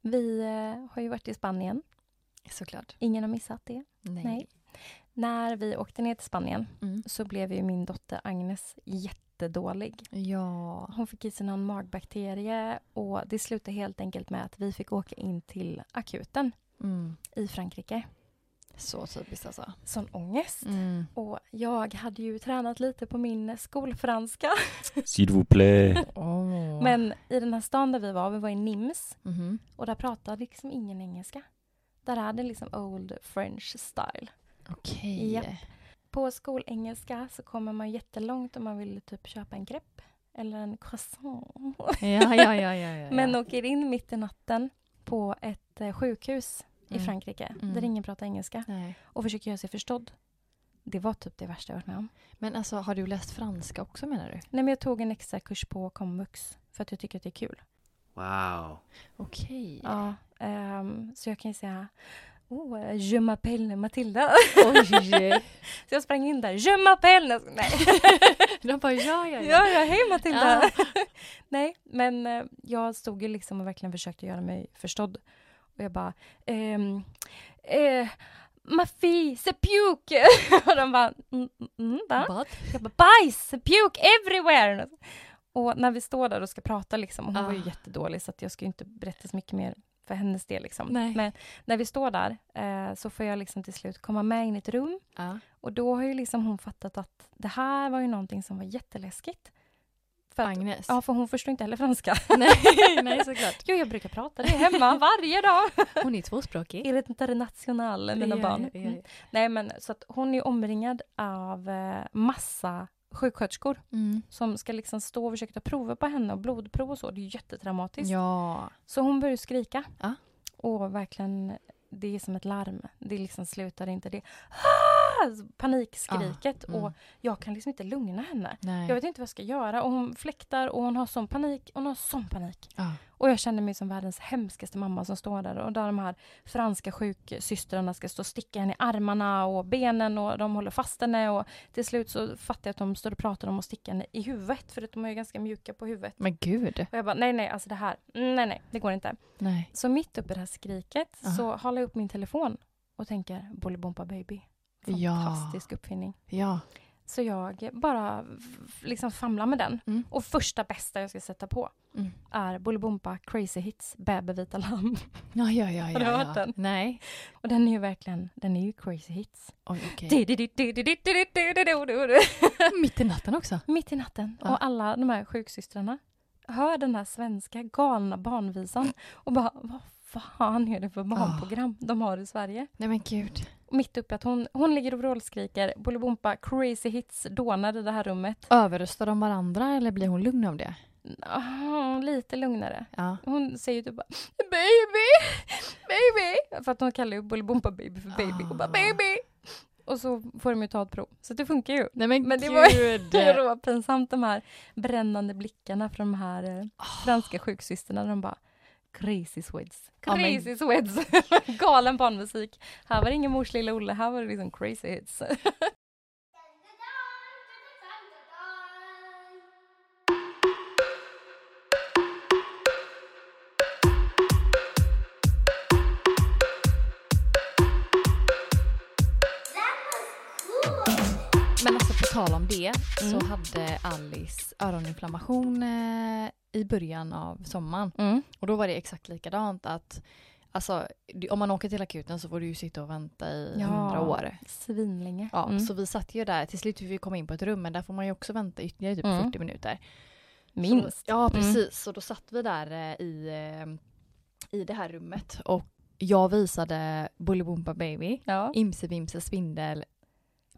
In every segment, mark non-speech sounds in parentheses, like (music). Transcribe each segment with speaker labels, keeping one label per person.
Speaker 1: Vi eh, har ju varit i Spanien.
Speaker 2: Såklart.
Speaker 1: Ingen har missat det.
Speaker 2: Nej.
Speaker 1: Nej. När vi åkte ner till Spanien
Speaker 2: Mm.
Speaker 1: så blev ju min dotter Agnes jättedålig.
Speaker 2: Ja.
Speaker 1: Hon fick i sig någon magbakterie och det slutade helt enkelt med att vi fick åka in till akuten
Speaker 2: Mm.
Speaker 1: i Frankrike.
Speaker 2: Så typiskt alltså.
Speaker 1: Sån ångest.
Speaker 2: Mm.
Speaker 1: Och jag hade ju tränat lite på min skolfranska.
Speaker 3: S'il vous plaît.
Speaker 2: Åh.
Speaker 1: Men i den här stan där vi var, vi var i Nims
Speaker 2: Mhm.
Speaker 1: och där pratade liksom ingen engelska. Där hade liksom old french style.
Speaker 2: Okej.
Speaker 1: Japp. På skolengelska så kommer man jättelångt om man vill typ köpa en grepp eller en croissant.
Speaker 2: Ja, ja, ja, ja, (laughs) ja.
Speaker 1: Men
Speaker 2: ja.
Speaker 1: åker in mitt i natten på ett eh, sjukhus i
Speaker 2: Mm.
Speaker 1: Frankrike
Speaker 2: Mm.
Speaker 1: där ingen pratar engelska
Speaker 2: Nej.
Speaker 1: och försöker göra sig förstådd. Det var typ det värsta jag varit med om.
Speaker 2: Men alltså, har du läst franska också menar du?
Speaker 1: Nej, men jag tog en extra kurs på komvux för att jag tycker att det är kul.
Speaker 3: Wow.
Speaker 2: Okej.
Speaker 1: Ja, ehm, så jag kan ju säga Oh, eh, je m'appelle Matilda.
Speaker 2: (laughs)
Speaker 1: (laughs)
Speaker 2: Oj!
Speaker 1: Så jag sprang in där. Je m'appelle... Nej,
Speaker 2: De bara ja, ja, ja.
Speaker 1: ja, ja, hej Matilda.
Speaker 2: Ja.
Speaker 1: (laughs) Nej, men eh, jag stod ju liksom och verkligen försökte göra mig förstådd. Och jag bara... Ehm, eh, ma fille, c'est puke! (laughs) och de bara... Mm, mm, va?
Speaker 2: Vad?
Speaker 1: Jag bara bajs, puke everywhere! Och när vi står där och ska prata liksom, och hon
Speaker 2: Ah.
Speaker 1: var ju jättedålig så att jag ska ju inte berätta så mycket mer för hennes del liksom.
Speaker 2: Nej.
Speaker 1: Men när vi står där eh, så får jag liksom till slut komma med in i ett rum
Speaker 2: Ja.
Speaker 1: och då har ju liksom hon fattat att det här var ju någonting som var jätteläskigt. För att,
Speaker 2: Agnes. (laughs)
Speaker 1: ja, för hon förstår inte heller franska.
Speaker 2: nej, nej, såklart.
Speaker 1: Jo, jag brukar prata det
Speaker 2: (laughs)
Speaker 1: hemma varje dag.
Speaker 2: Hon är tvåspråkig.
Speaker 1: International, mina
Speaker 2: Ja,
Speaker 1: barn.
Speaker 2: ja, ja, ja.
Speaker 1: Nej, men så att hon är ju omringad av eh, massa sjuksköterskor
Speaker 2: Mm.
Speaker 1: som ska liksom stå och försöka ta prover på henne och blodprov och så. Det är ju
Speaker 2: Mm.
Speaker 1: jättetraumatiskt.
Speaker 2: Ja.
Speaker 1: Så hon börjar skrika.
Speaker 2: Ja.
Speaker 1: Och verkligen, det är som ett larm. Det liksom slutar inte. Det ah! panikskriket.
Speaker 2: Ja, mm.
Speaker 1: Och jag kan liksom inte lugna henne.
Speaker 2: Nej.
Speaker 1: Jag vet inte vad jag ska göra. Och hon fläktar och hon har sån panik. Hon har sån panik.
Speaker 2: Ja.
Speaker 1: Och jag känner mig som världens hemskaste mamma som står där. Och där de här franska sjuksystrarna ska stå och sticka henne i armarna och benen och de håller fast henne. Och till slut så fattar jag att de står och pratar om att sticka henne i huvudet. För att de är ju ganska mjuka på huvudet.
Speaker 2: Men gud.
Speaker 1: Och jag bara, nej nej, alltså det här, mm, nej nej, det går inte.
Speaker 2: Nej.
Speaker 1: Så mitt uppe i det här skriket
Speaker 2: Ja.
Speaker 1: så håller jag upp min telefon och tänker Bolibompa baby.
Speaker 2: Ja.
Speaker 1: Fantastisk uppfinning.
Speaker 2: Ja.
Speaker 1: Så jag bara f- liksom famlar med den.
Speaker 2: Mm.
Speaker 1: Och första bästa jag ska sätta på
Speaker 2: Mm.
Speaker 1: är Bolibompa Crazy Hits Bäbe vita lamm. (laughs)
Speaker 2: Ja, ja, ja, ja.
Speaker 1: Har du
Speaker 2: ja.
Speaker 1: hört den?
Speaker 2: Nej.
Speaker 1: Och den är ju verkligen, den är ju Crazy Hits.
Speaker 2: Oj, okej. Mitt i natten också.
Speaker 1: (laughs) Mitt i natten
Speaker 2: Ja.
Speaker 1: och alla de här sjuksystrarna hör den här svenska galna barnvisan och bara vad fan är det för barnprogram
Speaker 2: Ah.
Speaker 1: de har i Sverige?
Speaker 2: Nej men gud.
Speaker 1: Mitt uppe att hon, hon ligger och vrålskriker, Bolibompa crazy hits dånar i det här rummet.
Speaker 2: Överröstar de varandra eller blir hon lugn av det?
Speaker 1: Ah, lite lugnare.
Speaker 2: Ja.
Speaker 1: Hon säger typ bara baby, baby. För att hon kallar ju Bolibompa baby för baby och bara
Speaker 2: Ah.
Speaker 1: baby. Och så får de ju ta ett prov. Så det funkar ju.
Speaker 2: Nej men,
Speaker 1: Men det
Speaker 2: gud.
Speaker 1: var Det var pinsamt de här brännande blickarna från de här eh, franska sjuksystrarna. De bara crazy swedes,
Speaker 2: Ja, men-
Speaker 1: crazy swedes. (laughs) Galen barnmusik. Här var det ingen mors lilla Olle, här var det liksom crazy hits.
Speaker 2: Men alltså på tal om det
Speaker 1: Mm.
Speaker 2: så hade Alice öroninflammation eh, i början av sommaren.
Speaker 1: Mm.
Speaker 2: Och då var det exakt likadant att Alltså det- om man åker till akuten så får du ju sitta och vänta i
Speaker 1: Ja.
Speaker 2: hundra år.
Speaker 1: Svinlänge.
Speaker 2: Ja,
Speaker 1: Mm.
Speaker 2: Så vi satt ju där, till slut fick vi komma in på ett rum men där får man ju också vänta ytterligare typ
Speaker 1: Mm.
Speaker 2: 40 minuter.
Speaker 1: Minst.
Speaker 2: Så, ja precis, så då satt vi där eh, i, eh, i det här rummet och jag visade Bolibompa Baby,
Speaker 1: Ja.
Speaker 2: Imse Vimse Spindel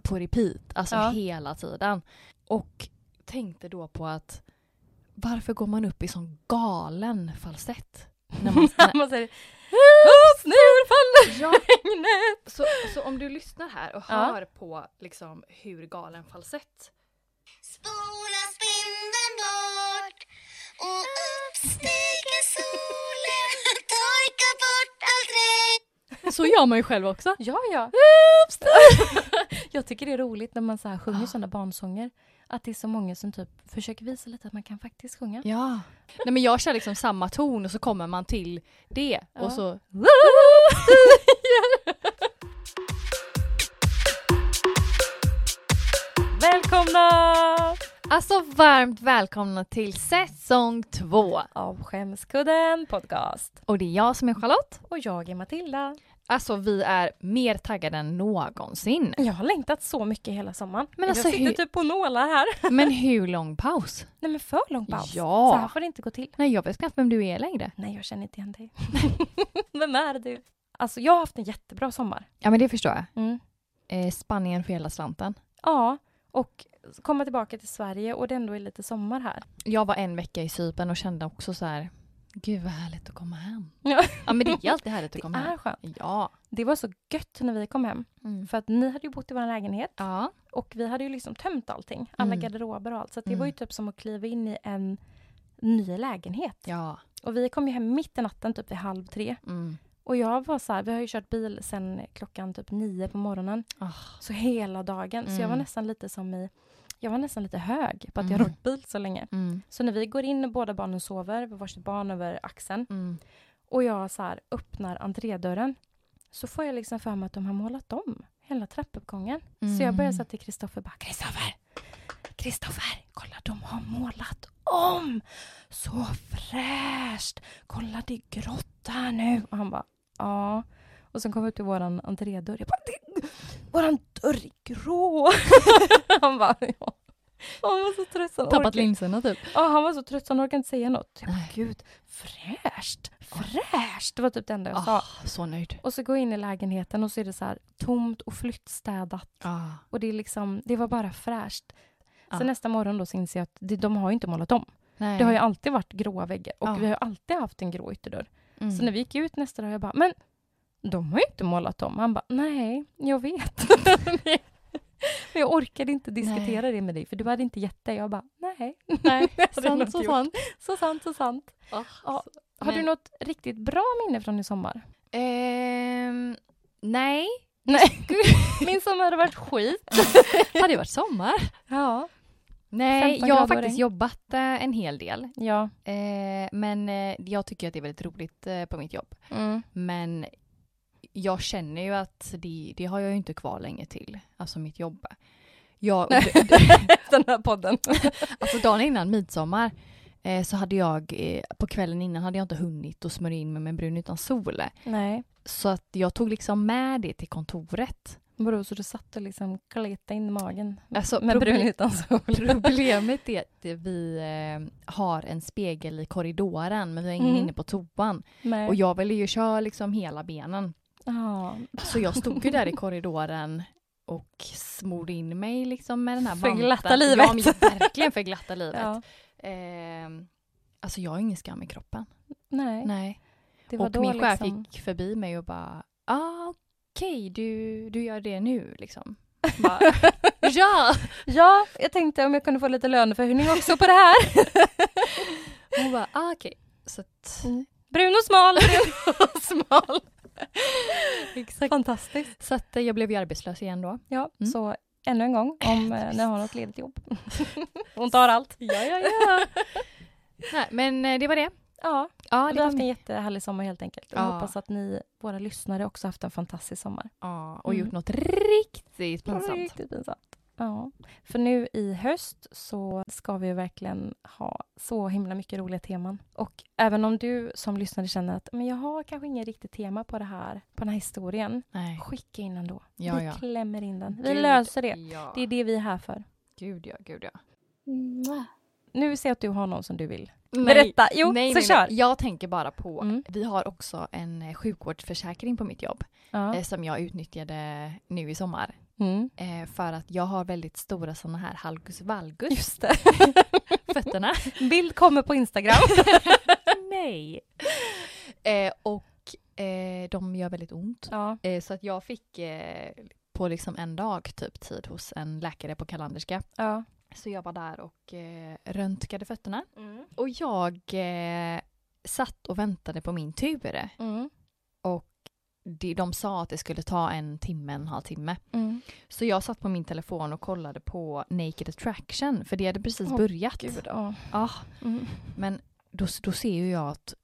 Speaker 2: på repeat, alltså
Speaker 1: Ja.
Speaker 2: hela tiden. Och tänkte då på att varför går man upp i sån galen falsett? När (laughs) man,
Speaker 1: (laughs)
Speaker 2: när,
Speaker 1: Man säger Hoops, nu faller
Speaker 2: ja,
Speaker 1: regnet.
Speaker 2: så, så om du lyssnar här och
Speaker 1: Ja.
Speaker 2: hör på liksom hur galen falsett
Speaker 4: Spola spindeln bort och upp stiger solen (laughs) Torka bort allt regn
Speaker 2: så gör man ju själv också.
Speaker 1: (laughs) Ja, ja. Jag tycker det är roligt när man så här sjunger sådana barnsånger. Att det är så många som typ försöker visa lite att man kan faktiskt sjunga.
Speaker 2: Ja. Nej men jag kör liksom samma ton och så kommer man till det
Speaker 1: Ja. (laughs)
Speaker 2: och så...
Speaker 1: Välkomna!
Speaker 2: Alltså varmt välkomna till säsong två!
Speaker 1: Av Skämskudden podcast.
Speaker 2: Och det är jag som är Charlotte.
Speaker 1: Och jag är Matilda.
Speaker 2: Alltså vi är mer taggade än någonsin.
Speaker 1: Jag har längtat så mycket hela sommaren.
Speaker 2: Men
Speaker 1: Men
Speaker 2: alltså,
Speaker 1: jag sitter
Speaker 2: hur-
Speaker 1: typ på nålar här.
Speaker 2: Men hur lång paus?
Speaker 1: Nej men för lång paus.
Speaker 2: Ja.
Speaker 1: Så här får det inte gå till.
Speaker 2: Nej jag vet knappt vem du är längre.
Speaker 1: Nej, jag känner inte igen dig. (laughs) Vem är du? Alltså, jag har haft en jättebra sommar.
Speaker 2: Ja men det förstår jag.
Speaker 1: Mm.
Speaker 2: Eh, Spanien för hela slanten.
Speaker 1: Ja, och komma tillbaka till Sverige och det ändå är lite sommar här.
Speaker 2: Jag var en vecka i Cypern och kände också så här, gud vad härligt att komma hem.
Speaker 1: Ja.
Speaker 2: ja men det är alltid härligt att
Speaker 1: Det
Speaker 2: komma hem.
Speaker 1: är skönt.
Speaker 2: Ja.
Speaker 1: Det var så gött när vi kom hem.
Speaker 2: Mm.
Speaker 1: För att ni hade ju bott i vår lägenhet
Speaker 2: Ja.
Speaker 1: och vi hade ju liksom tömt allting. Alla
Speaker 2: Mm.
Speaker 1: garderober och allt. Så att det
Speaker 2: Mm.
Speaker 1: var ju typ som att kliva in i en ny lägenhet.
Speaker 2: Ja.
Speaker 1: Och vi kom ju hem mitt i natten, typ vid halv tre.
Speaker 2: Mm.
Speaker 1: Och jag var så här, vi har ju kört bil sen klockan typ nio på morgonen.
Speaker 2: Ah.
Speaker 1: Så Alltså, hela dagen. Så jag var
Speaker 2: Mm.
Speaker 1: nästan lite som i, jag var nästan lite hög på att jag
Speaker 2: Mm.
Speaker 1: rört bil så länge.
Speaker 2: Mm.
Speaker 1: Så när vi går in och båda barnen sover, vi har varsitt barn över axeln
Speaker 2: Mm.
Speaker 1: och jag så här öppnar entrédörren så får jag liksom för mig att de har målat om hela trappuppgången. Så jag
Speaker 2: Mm.
Speaker 1: börjar säga till Kristoffer bara Kristoffer! Kristoffer! Kolla de har målat om! Så fräscht! Kolla det är grått här nu! Och han bara ja. Och sen kom vi ut till våran entrédörr. Jag bara "Det- Våran dörr är grå! (laughs) han bara ja. Han var så trött så han
Speaker 2: Tappat
Speaker 1: orkade-
Speaker 2: linserna typ.
Speaker 1: Ja, han var så trött så han orkade inte säga något. Jag bara,
Speaker 2: Nej.
Speaker 1: gud, fräscht, fräscht. Det var typ det enda jag sa.
Speaker 2: Ah, så nöjd.
Speaker 1: Och så går jag in i lägenheten och så är det så här tomt och flyttstädat.
Speaker 2: Ah.
Speaker 1: Och det är liksom, det var bara fräscht.
Speaker 2: Ah.
Speaker 1: Så nästa morgon då så inser jag att det, de har ju inte målat om.
Speaker 2: Nej.
Speaker 1: Det har ju alltid varit gråa väggar och
Speaker 2: Ja.
Speaker 1: vi har ju alltid haft en grå ytterdörr.
Speaker 2: Mm. (laughs)
Speaker 1: Så när vi gick ut nästa dag, jag bara, men de har ju inte målat om. Han bara, nej, jag vet. (laughs) Men jag orkade inte diskutera det med dig, för du hade inte gett det. Jag bara, nej.
Speaker 2: Nej,
Speaker 1: (laughs) det är nog
Speaker 2: sant, så
Speaker 1: gjort.
Speaker 2: sant.
Speaker 1: Så sant, så sant.
Speaker 2: Ja.
Speaker 1: Har
Speaker 2: Ah, Men-
Speaker 1: du något riktigt bra minne från i sommar?
Speaker 2: Ehm, (laughs) nej,
Speaker 1: Nej. Min sommar hade varit skit.
Speaker 2: det hade ju varit sommar.
Speaker 1: Ja.
Speaker 2: Nej,
Speaker 1: 15
Speaker 2: jag har
Speaker 1: grader och
Speaker 2: faktiskt
Speaker 1: regn.
Speaker 2: jobbat eh, en hel del.
Speaker 1: Ja.
Speaker 2: Eh, men eh, jag tycker att det är väldigt roligt eh, på mitt jobb.
Speaker 1: Mm.
Speaker 2: Men jag känner ju att det, det har jag ju inte kvar länge till, alltså mitt jobb. Jag,
Speaker 1: Den här podden.
Speaker 2: (laughs) alltså dagen innan midsommar eh, så hade jag, eh, på kvällen innan hade jag inte hunnit att smörja in mig med brun utan sol.
Speaker 1: Nej.
Speaker 2: Så att jag tog liksom med det till kontoret.
Speaker 1: Vadå, så du satt och liksom kletade in magen?
Speaker 2: Alltså,
Speaker 1: med
Speaker 2: problem-
Speaker 1: Mm. brun utan sol?
Speaker 2: (laughs) Problemet är att vi eh, har en spegel i korridoren men vi har ingen
Speaker 1: Mm.
Speaker 2: inne på toan.
Speaker 1: Nej.
Speaker 2: Och jag ville ju köra liksom hela benen.
Speaker 1: Ja.
Speaker 2: Så jag stod
Speaker 1: (laughs)
Speaker 2: ju där i korridoren och smorde in mig liksom med den här
Speaker 1: För
Speaker 2: vanten.
Speaker 1: glatta livet.
Speaker 2: Ja, men jag- verkligen
Speaker 1: (laughs)
Speaker 2: för glatta livet.
Speaker 1: ja.
Speaker 2: Ehm, alltså jag har ingen skam i kroppen.
Speaker 1: Nej.
Speaker 2: Nej.
Speaker 1: Det var
Speaker 2: Och
Speaker 1: då
Speaker 2: min chef
Speaker 1: liksom...
Speaker 2: gick förbi mig och bara, ah, okej, du, du gör det nu liksom. Bara, ja!
Speaker 1: (laughs) Ja, jag tänkte om jag kunde få lite löneförhöjning också på det här.
Speaker 2: Hon bara, ah, okej. Så att,
Speaker 1: Mm, Brun och smal, brun
Speaker 2: (laughs)
Speaker 1: och smal.
Speaker 2: exakt.
Speaker 1: Fantastiskt.
Speaker 2: Så att eh, jag blev ju arbetslös igen då.
Speaker 1: Ja,
Speaker 2: Mm.
Speaker 1: så ännu en gång om eh, ni har något ledigt jobb. (laughs) Hon tar allt.
Speaker 2: Ja, ja, ja. (laughs) Nej, men eh, det var det.
Speaker 1: Ja.
Speaker 2: Ja,
Speaker 1: vi har haft en jättehärlig sommar helt enkelt. Och
Speaker 2: Ja.
Speaker 1: Jag hoppas att ni, våra lyssnare, också haft en fantastisk sommar.
Speaker 2: Ja, och gjort
Speaker 1: Mm.
Speaker 2: något riktigt pinsamt.
Speaker 1: Riktigt pinsamt. Ja. För nu i höst så ska vi ju verkligen ha så himla mycket roliga teman. Och även om du som lyssnare känner att men jag har kanske ingen riktigt tema på, det här, på den här historien,
Speaker 2: Nej.
Speaker 1: skicka in den då.
Speaker 2: Ja,
Speaker 1: vi
Speaker 2: ja.
Speaker 1: klämmer in den. Vi
Speaker 2: Gud,
Speaker 1: löser det.
Speaker 2: Ja.
Speaker 1: Det är det vi är här för.
Speaker 2: Gud ja, gud ja.
Speaker 1: Nu ser jag att du har någon som du vill berätta. Jo,
Speaker 2: nej,
Speaker 1: så
Speaker 2: nej,
Speaker 1: kör!
Speaker 2: Nej. Jag tänker bara på,
Speaker 1: Mm.
Speaker 2: vi har också en eh, sjukvårdsförsäkring på mitt jobb eh,
Speaker 1: Ja.
Speaker 2: som jag utnyttjade nu i sommar.
Speaker 1: Mm. (laughs)
Speaker 2: Eh, för att jag har väldigt stora sådana här halgus valgus
Speaker 1: Just det.
Speaker 2: fötterna.
Speaker 1: Bild kommer på Instagram. (laughs)
Speaker 2: nej! Eh, och eh, de gör väldigt ont.
Speaker 1: Ja.
Speaker 2: Eh, så att jag fick eh, på liksom en dag typ tid hos en läkare på Kalanderska.
Speaker 1: ja.
Speaker 2: Så jag var där och eh, röntgade fötterna. Och jag eh, satt och väntade på min tur.
Speaker 1: Mm.
Speaker 2: de, de sa att det skulle ta en timme, en halvtimme.
Speaker 1: Mm.
Speaker 2: Så jag satt på min telefon och kollade på Naked Attraction, för det hade precis
Speaker 1: Åh,
Speaker 2: börjat.
Speaker 1: Gud, ja.
Speaker 2: Ah,
Speaker 1: Mm.
Speaker 2: men då, då ser ju jag att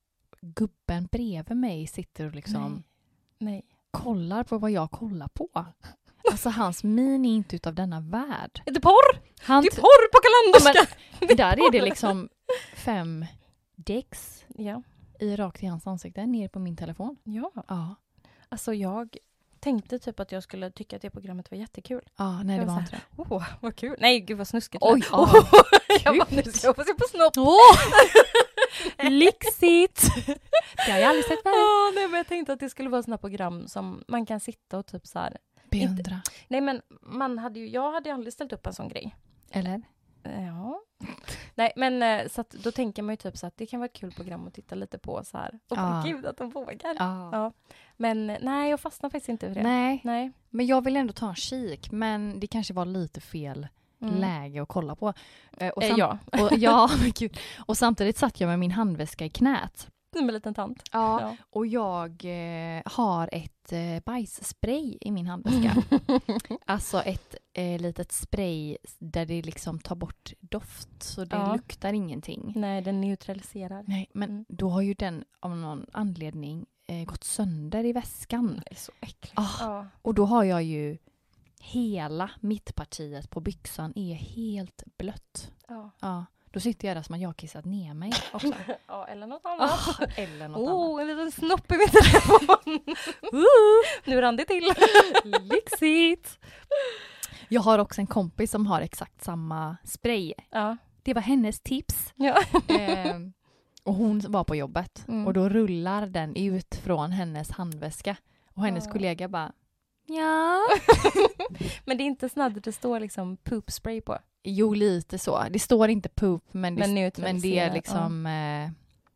Speaker 2: gubben bredvid mig sitter och liksom
Speaker 1: Nej. Nej.
Speaker 2: kollar på vad jag kollar på. Alltså hans min är inte utav denna värld.
Speaker 1: Är det porr?
Speaker 2: Han
Speaker 1: Det är porr på kalenderska!
Speaker 2: men, där
Speaker 1: (laughs)
Speaker 2: är det liksom fem dicks
Speaker 1: Ja,
Speaker 2: i rakt i hans ansikte, ner på min telefon.
Speaker 1: ja.
Speaker 2: Ja,
Speaker 1: Alltså jag tänkte typ att jag skulle tycka att det programmet var jättekul.
Speaker 2: ja nej det
Speaker 1: Jag
Speaker 2: var
Speaker 1: var
Speaker 2: inte det.
Speaker 1: Åh, vad kul! Nej, gud vad snuskigt.
Speaker 2: Oj,
Speaker 1: Det lät.
Speaker 2: ja.
Speaker 1: Åh, (laughs) jag bara, nu ska jag få se på snopp! (laughs)
Speaker 2: Lyxigt! Det har jag aldrig sett förut.
Speaker 1: Åh, nej, men jag tänkte att det skulle vara sådana program som man kan sitta och typ så här.
Speaker 2: Beundra.
Speaker 1: Nej men man hade ju, jag hade ju aldrig ställt upp en sån grej.
Speaker 2: Eller?
Speaker 1: Ja. (laughs) Nej men eh, så att då tänker man ju typ så att det kan vara ett kul program att titta lite på så här. Och
Speaker 2: Ja.
Speaker 1: gud att de vågar.
Speaker 2: Ja.
Speaker 1: Men eh, nej jag fastnar faktiskt inte för det.
Speaker 2: Nej,
Speaker 1: Nej.
Speaker 2: men jag vill ändå ta en kik. Men det kanske var lite fel
Speaker 1: Mm.
Speaker 2: läge att kolla på. Eh, Och,
Speaker 1: Eh,
Speaker 2: sam-
Speaker 1: ja,
Speaker 2: och, ja, (laughs) men gud. och samtidigt satt jag med min handväska i knät.
Speaker 1: (laughs) som en liten tant.
Speaker 2: Ja.
Speaker 1: Ja.
Speaker 2: Och jag eh, har ett eh, bajsspray i min handväska. (laughs)
Speaker 1: (laughs)
Speaker 2: alltså ett eh, litet spray där det liksom tar bort doft så det
Speaker 1: Ja.
Speaker 2: luktar ingenting.
Speaker 1: Nej den neutraliserar.
Speaker 2: Nej, men
Speaker 1: Mm.
Speaker 2: då har ju den av någon anledning eh, gått sönder i väskan.
Speaker 1: Det är så äckligt.
Speaker 2: Ah.
Speaker 1: Ja.
Speaker 2: Och då har jag ju hela mittpartiet på byxan är helt blött.
Speaker 1: Ja.
Speaker 2: Ja, då sitter jag där som att jag har kissat ner mig.
Speaker 1: ja eller något annat.
Speaker 2: Ah, eller något annat.
Speaker 1: Oh, en liten snopp i min telefon!
Speaker 2: (laughs)
Speaker 1: nu rann det till.
Speaker 2: Lyxigt! Jag har också en kompis som har exakt samma spray. (laughs)
Speaker 1: Ja.
Speaker 2: Det var hennes tips.
Speaker 1: ja.
Speaker 2: Ehm, och hon var på jobbet
Speaker 1: Mm.
Speaker 2: och då rullar den ut från hennes handväska. Och hennes
Speaker 1: Ja.
Speaker 2: kollega bara ja.
Speaker 1: Men det är inte sådana där det står liksom poop spray på.
Speaker 2: Jo, lite så. Det står inte poop men det,
Speaker 1: Men
Speaker 2: men
Speaker 1: neutraliserar.
Speaker 2: det är
Speaker 1: ja.
Speaker 2: liksom... eh,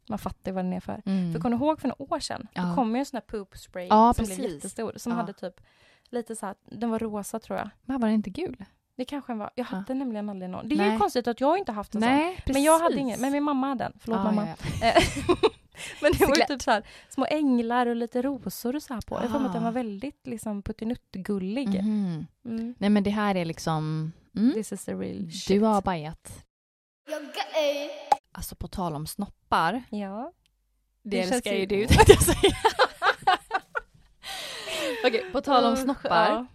Speaker 1: Man fattar ju vad den är för.
Speaker 2: mm.
Speaker 1: För kommer du ihåg för några år sedan?
Speaker 2: Ja.
Speaker 1: Då kom ju en sån här poop spray
Speaker 2: Ja,
Speaker 1: som blev
Speaker 2: precis.
Speaker 1: jättestor. Som
Speaker 2: Ja.
Speaker 1: hade typ lite så här, den var rosa tror jag.
Speaker 2: Men var den inte gul?
Speaker 1: Det kanske den var. Jag
Speaker 2: Ja.
Speaker 1: hade nämligen aldrig någon. Det är ju
Speaker 2: Nej.
Speaker 1: konstigt att jag inte haft en sån.
Speaker 2: precis. Ah,
Speaker 1: Men jag hade ingen, men min mamma hade den. Förlåt
Speaker 2: Ja,
Speaker 1: mamma.
Speaker 2: ja,
Speaker 1: Eh, men det var ju
Speaker 2: Såklart.
Speaker 1: typ så här, små änglar och lite rosor och så här på. Jag får mig att den
Speaker 2: Ah.
Speaker 1: var väldigt liksom puttinuttgullig.
Speaker 2: ja. Mhm.
Speaker 1: Mm.
Speaker 2: Nej, men det här är liksom... Mm.
Speaker 1: This is the real shit.
Speaker 2: Du har bajat.
Speaker 4: Jag är
Speaker 2: Alltså på tal om snoppar.
Speaker 1: Ja.
Speaker 2: Det,
Speaker 1: känns
Speaker 2: älskar ju
Speaker 1: ju-
Speaker 2: du tänkte jag säga. (laughs) Okej, på tal om
Speaker 1: Usch,
Speaker 2: snoppar
Speaker 1: ja.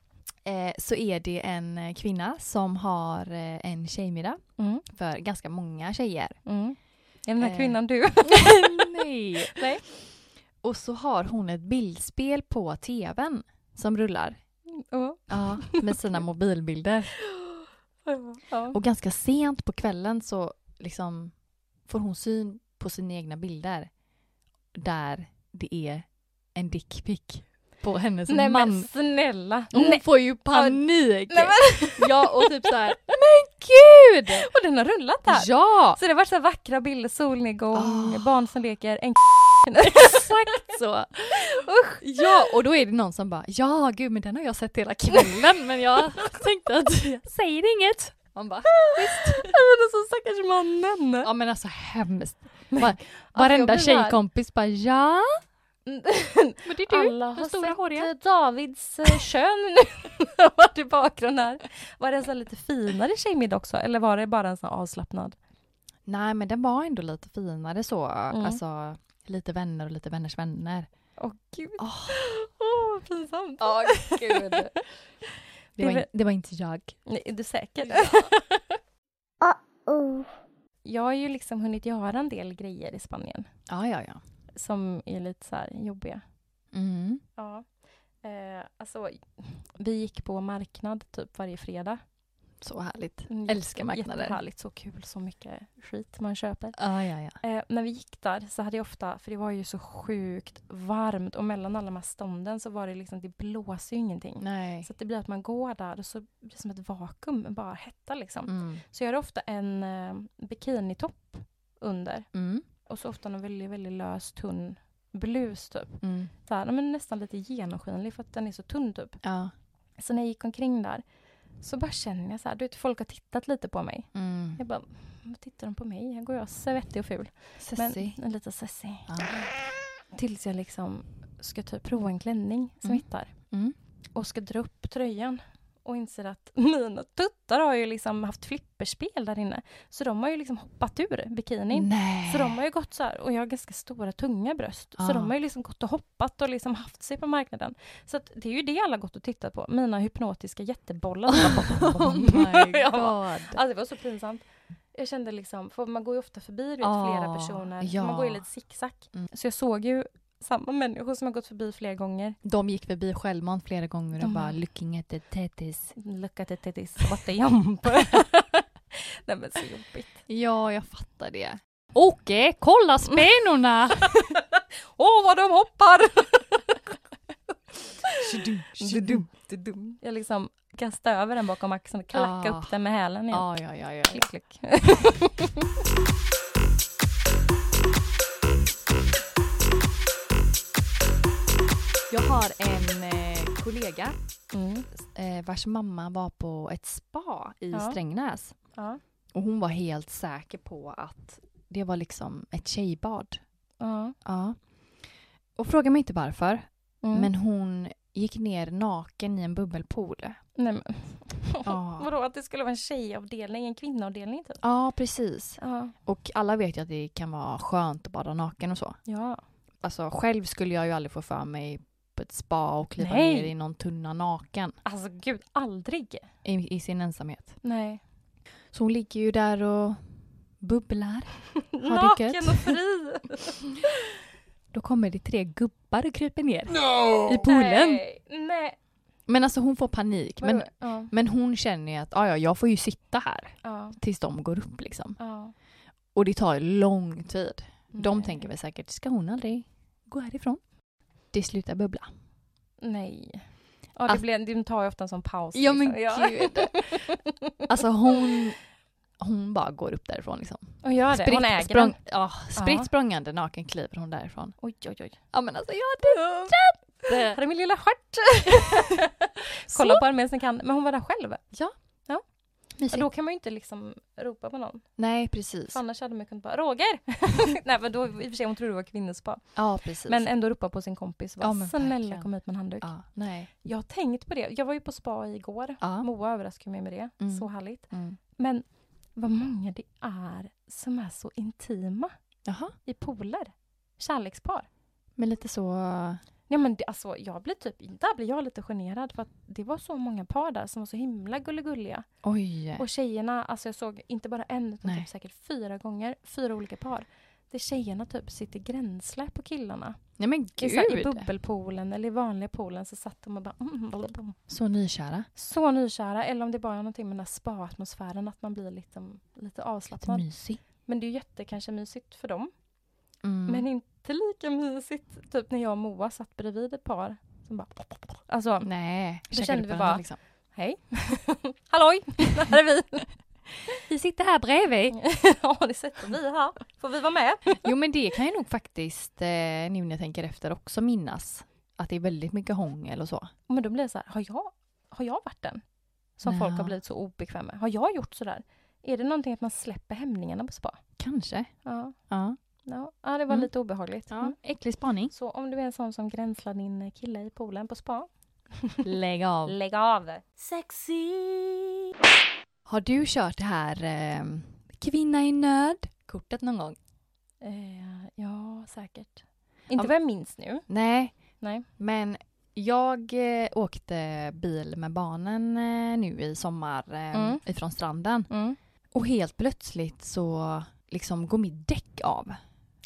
Speaker 2: (laughs) eh, så är det en eh, kvinna som har eh, en tjejmiddag
Speaker 1: Mm.
Speaker 2: för ganska många tjejer. (laughs)
Speaker 1: Mm. Är den här
Speaker 2: Eh.
Speaker 1: kvinnan du? (laughs)
Speaker 2: Nej.
Speaker 1: Nej.
Speaker 2: Och så har hon ett bildspel på tvn som rullar.
Speaker 1: Ja.
Speaker 2: Ja, med (laughs) sina mobilbilder.
Speaker 1: Ja.
Speaker 2: Och ganska sent på kvällen så liksom får hon syn på sina egna bilder där det är en dickpic på hennes
Speaker 1: Nej men
Speaker 2: man.
Speaker 1: snälla!
Speaker 2: Hon
Speaker 1: Nej.
Speaker 2: får ju panik!
Speaker 1: Nej, (laughs)
Speaker 2: Ja, och typ så här, men gud!
Speaker 1: Och den har rullat här!
Speaker 2: Ja,
Speaker 1: Så det har varit så här vackra bilder, solnedgång,
Speaker 2: Ah.
Speaker 1: barn som leker, en
Speaker 2: exakt så! Usch.
Speaker 1: (laughs)
Speaker 2: Ja, och då är det någon som bara, ja gud men den har jag sett hela kvällen
Speaker 1: (laughs)
Speaker 2: men jag tänkte att jag säger inget. Man bara,
Speaker 1: Men så Alltså, stackars mannen!
Speaker 2: ja men alltså hemskt. Var, varenda
Speaker 1: Alltså, jag blir arg.
Speaker 2: tjejkompis
Speaker 1: (laughs)
Speaker 2: bara, ja men det är du.
Speaker 1: Alla har
Speaker 2: stora
Speaker 1: sett
Speaker 2: håriga.
Speaker 1: eh, Davids eh, kön nu (laughs) när han var i bakgrunden här. Var det en sån här lite finare tjejmiddag också eller var det bara en sån här avslappnad?
Speaker 2: Nej men den var ändå lite finare så,
Speaker 1: Mm.
Speaker 2: alltså lite vänner och lite vänners vänner.
Speaker 1: Åh gud,
Speaker 2: Åh,
Speaker 1: åh vad pinsamt!
Speaker 2: oh, gud. Det var, in, det var inte jag.
Speaker 1: Nej, är du säker?
Speaker 4: oh.
Speaker 1: (laughs) Jag har ju liksom hunnit göra en del grejer i Spanien
Speaker 2: Ja, ja, ja.
Speaker 1: som är lite så här jobbiga.
Speaker 2: Mm.
Speaker 1: Ja. Eh, alltså, vi gick på marknad typ varje fredag.
Speaker 2: Så härligt.
Speaker 1: Mm,
Speaker 2: Älskar
Speaker 1: jätte-
Speaker 2: marknader.
Speaker 1: Jättehärligt, så kul, så mycket skit man köper.
Speaker 2: Ja, ja, ja.
Speaker 1: Eh, när vi gick där så hade jag ofta, för det var ju så sjukt varmt och mellan alla de här stånden så var det liksom, det blåser ju ingenting.
Speaker 2: Nej.
Speaker 1: Så att det blir att man går där och så blir det som ett vakuum, bara hetta liksom.
Speaker 2: Mm.
Speaker 1: Så jag hade ofta en eh, bikinitopp under
Speaker 2: Mm.
Speaker 1: och så ofta en väldigt, väldigt lös tunn blus typ.
Speaker 2: Mm.
Speaker 1: Så här, men nästan lite genomskinlig för att den är så tunn typ.
Speaker 2: Ja.
Speaker 1: Så när jag gick omkring där så bara känner jag så här, du vet folk har tittat lite på mig.
Speaker 2: Mm.
Speaker 1: Jag bara, vad tittar de på mig? Här går jag svettig och ful.
Speaker 2: Sessi.
Speaker 1: Men, lite sessig.
Speaker 2: Ja.
Speaker 1: Tills jag liksom ska typ prova en klänning som
Speaker 2: Mm.
Speaker 1: jag hittar
Speaker 2: Mm.
Speaker 1: och ska dra upp tröjan och inser att (laughs) mina tuttar har ju liksom haft flipperspel där inne. Så de har ju liksom hoppat ur bikinin.
Speaker 2: Nej. Ah.
Speaker 1: Så de har ju gått så här, och jag har ganska stora tunga bröst,
Speaker 2: Ja.
Speaker 1: så de har ju liksom gått och hoppat och liksom haft sig på marknaden. Så att det är ju det alla gått och tittat på, mina hypnotiska jättebollar.
Speaker 2: (laughs)
Speaker 1: (laughs)
Speaker 2: Oh my
Speaker 1: Ja.
Speaker 2: god.
Speaker 1: alltså det var så pinsamt. Jag kände liksom, för man går ju ofta förbi du vet,
Speaker 2: Ja,
Speaker 1: flera personer,
Speaker 2: Ah, ja.
Speaker 1: man går ju lite zigzag.
Speaker 2: Mm.
Speaker 1: Så jag såg ju samma människor som jag gått förbi flera gånger.
Speaker 2: De gick förbi självmant flera gånger och
Speaker 1: De
Speaker 2: bara
Speaker 1: bara-
Speaker 2: looking at the tettis.
Speaker 1: Look at it, it is what they jump. (laughs) Nej men så jobbigt.
Speaker 2: Ja, jag fattar det. Åke, eh, kolla (laughs) spenorna!
Speaker 1: Åh vad de hoppar!
Speaker 2: ja,
Speaker 1: Jag liksom kastade över den bakom axeln och klackade
Speaker 2: Ah.
Speaker 1: upp den med hälen igen.
Speaker 2: ja, ja, ja, ja.
Speaker 1: Klick,
Speaker 2: (laughs)
Speaker 1: klick.
Speaker 2: Jag har en eh, kollega
Speaker 1: Mm.
Speaker 2: eh, vars mamma var på ett spa i
Speaker 1: Ja.
Speaker 2: Strängnäs.
Speaker 1: Ja.
Speaker 2: Och hon var helt säker på att det var liksom ett tjejbad.
Speaker 1: Ja.
Speaker 2: Ja. Och fråga mig inte varför,
Speaker 1: Mm.
Speaker 2: men hon gick ner naken i
Speaker 1: (laughs)
Speaker 2: en bubbelpool.
Speaker 1: Nej, men,
Speaker 2: Ja.
Speaker 1: vadå att det skulle vara en tjejavdelning, en kvinnoavdelning typ?
Speaker 2: ja, precis.
Speaker 1: Ja.
Speaker 2: Och alla vet ju att det kan vara skönt att bada naken och så.
Speaker 1: ja.
Speaker 2: Alltså själv skulle jag ju aldrig få för mig på ett spa och kliva
Speaker 1: Nej.
Speaker 2: ner i någon tunna naken
Speaker 1: Alltså gud, aldrig.
Speaker 2: i, i sin ensamhet.
Speaker 1: (laughs) Nej.
Speaker 2: Så hon ligger ju där och bubblar. det gött?
Speaker 1: Naken och fri!
Speaker 2: Då kommer det tre gubbar och kryper ner
Speaker 3: No!
Speaker 2: i poolen.
Speaker 1: Nej. Nej.
Speaker 2: Men alltså hon får panik. Men,
Speaker 1: Oj, ja.
Speaker 2: men hon känner ju att "Ah, ja, jag får ju sitta här
Speaker 1: Ja.
Speaker 2: tills de går upp liksom.
Speaker 1: Ja.
Speaker 2: Och det tar ju lång tid. De
Speaker 1: Nej.
Speaker 2: tänker väl säkert, ska hon aldrig gå härifrån? Det slutar bubbla.
Speaker 1: Nej. Ja, det,
Speaker 2: Alltså-
Speaker 1: blir, det tar ju ofta en sån paus.
Speaker 2: Ja men
Speaker 1: liksom. (laughs) Ja.
Speaker 2: gud. (laughs) Alltså hon, hon bara går upp därifrån liksom.
Speaker 1: Hon gör det, hon äger
Speaker 2: språng,
Speaker 1: den.
Speaker 2: ja, spritt
Speaker 1: Ja.
Speaker 2: språngande naken kliver hon därifrån.
Speaker 1: Oj, oj, oj.
Speaker 2: Ja men alltså jag hade
Speaker 1: Här är min lilla stjärt. Kolla på den medan ni kan. Men hon var där själv. Och
Speaker 2: mysigt.
Speaker 1: då kan man ju inte liksom ropa på någon.
Speaker 2: Nej precis.
Speaker 1: För annars hade man kunnat bara Roger!
Speaker 2: (laughs)
Speaker 1: Nej men då i och för sig hon trodde det var kvinnospa.
Speaker 2: Ja precis.
Speaker 1: Men eh, ändå ropa på sin kompis. Bara,
Speaker 2: Typ Ja,
Speaker 1: Snälla
Speaker 2: men verkligen.
Speaker 1: kom hit med en handduk.
Speaker 2: ja, nej.
Speaker 1: Jag har tänkt på det. Jag var ju på spa igår.
Speaker 2: Ja.
Speaker 1: Moa överraskade mig med det.
Speaker 2: Mm.
Speaker 1: Så härligt.
Speaker 2: Mm.
Speaker 1: Men vad många det är som är så intima
Speaker 2: Jaha.
Speaker 1: i pooler. Kärlekspar.
Speaker 2: Men lite så.
Speaker 1: Ja, men det, alltså, jag blir typ, där blir jag lite generad för att det var så många par där som var så himla gulligulliga.
Speaker 2: Oj.
Speaker 1: Och tjejerna, alltså jag såg inte bara en utan
Speaker 2: Nej.
Speaker 1: typ säkert fyra gånger, fyra olika par. Där tjejerna typ sitter gränsle på killarna.
Speaker 2: Nej men
Speaker 1: I,
Speaker 2: gud.
Speaker 1: så här, I bubbelpoolen eller i vanliga poolen så satt de och bara mm, blum, blum.
Speaker 2: Så nykära.
Speaker 1: Så nykära. Eller om det bara är någonting med den här spa-atmosfären att man blir lite, lite
Speaker 2: Lite
Speaker 1: avslappnad.
Speaker 2: mysig.
Speaker 1: men det är ju jätte kanske mysigt för dem.
Speaker 2: Mm.
Speaker 1: Men inte lika mysigt typ när jag och Moa satt bredvid ett par som bara Alltså,
Speaker 2: nej.
Speaker 1: Då
Speaker 2: käkade
Speaker 1: kände
Speaker 2: på
Speaker 1: vi
Speaker 2: den här,
Speaker 1: bara-
Speaker 2: Liksom.
Speaker 1: Hej! (laughs) Halloj! Här är vi! (laughs)
Speaker 2: Vi sitter här bredvid.
Speaker 1: ja, det sätter vi här. Får vi vara med?
Speaker 2: Jo men det kan jag nog faktiskt, eh, nu när jag tänker efter, också minnas. Att det är väldigt mycket hångel och så.
Speaker 1: Men då blir det så här, har jag, har jag varit den? Som folk
Speaker 2: Ja.
Speaker 1: har blivit så obekväm med. Har jag gjort sådär? Är det någonting att man släpper hämningarna på spa?
Speaker 2: Kanske.
Speaker 1: Ja,
Speaker 2: Ja.
Speaker 1: ja. ja det var
Speaker 2: Mm.
Speaker 1: lite obehagligt. Mm.
Speaker 2: Äcklig spaning.
Speaker 1: Så om du är en sån som gränslar din kille i poolen på spa,
Speaker 2: Lägg av.
Speaker 1: lägg av!
Speaker 4: (laughs) Sexy.
Speaker 2: Har du kört det här eh, kvinna i nöd? Kortet någon gång?
Speaker 1: Eh, ja, säkert. Inte
Speaker 2: Ja.
Speaker 1: vad jag minns nu.
Speaker 2: Nej,
Speaker 1: Nej.
Speaker 2: men jag eh, åkte bil med barnen eh, nu i sommar eh,
Speaker 1: Mm.
Speaker 2: ifrån stranden.
Speaker 1: Mm.
Speaker 2: Och helt plötsligt så liksom går mitt däck av.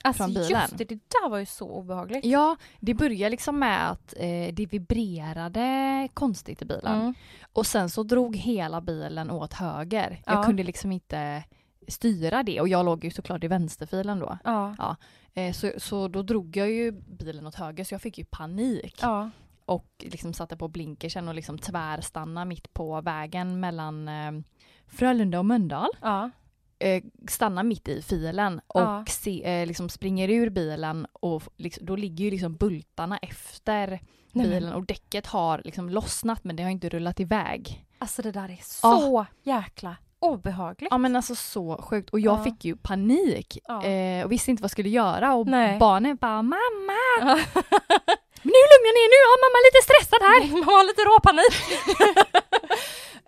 Speaker 1: Alltså
Speaker 2: Från bilen.
Speaker 1: just det, det där var ju så obehagligt.
Speaker 2: Ja, det börjar liksom med att eh, det vibrerade konstigt i bilen.
Speaker 1: Mm.
Speaker 2: Och sen så drog hela bilen åt höger.
Speaker 1: Ja.
Speaker 2: Jag kunde liksom inte styra det och jag låg ju såklart i vänsterfilen då.
Speaker 1: Ja.
Speaker 2: Eh, så, så då drog jag ju bilen åt höger så jag fick ju panik.
Speaker 1: ja.
Speaker 2: Och liksom satte på blinkersen och liksom tvärstannade mitt på vägen mellan eh, Frölunda och Mölndal.
Speaker 1: ja.
Speaker 2: Eh, stannar mitt i filen och
Speaker 1: Ja.
Speaker 2: se, eh, liksom springer ur bilen och f- liksom, då ligger ju liksom bultarna efter
Speaker 1: Nej, men-
Speaker 2: bilen och däcket har liksom lossnat men det har inte rullat iväg.
Speaker 1: Alltså det där är så jäkla obehagligt.
Speaker 2: Ja men alltså så sjukt och jag
Speaker 1: Ja.
Speaker 2: fick ju panik
Speaker 1: Ja.
Speaker 2: eh, och visste inte vad jag skulle göra och
Speaker 1: Nej.
Speaker 2: barnen bara mamma! Men nu lugnar ni er, nu har mamma lite stressad
Speaker 1: (laughs)
Speaker 2: här.
Speaker 1: Man har lite råpanik.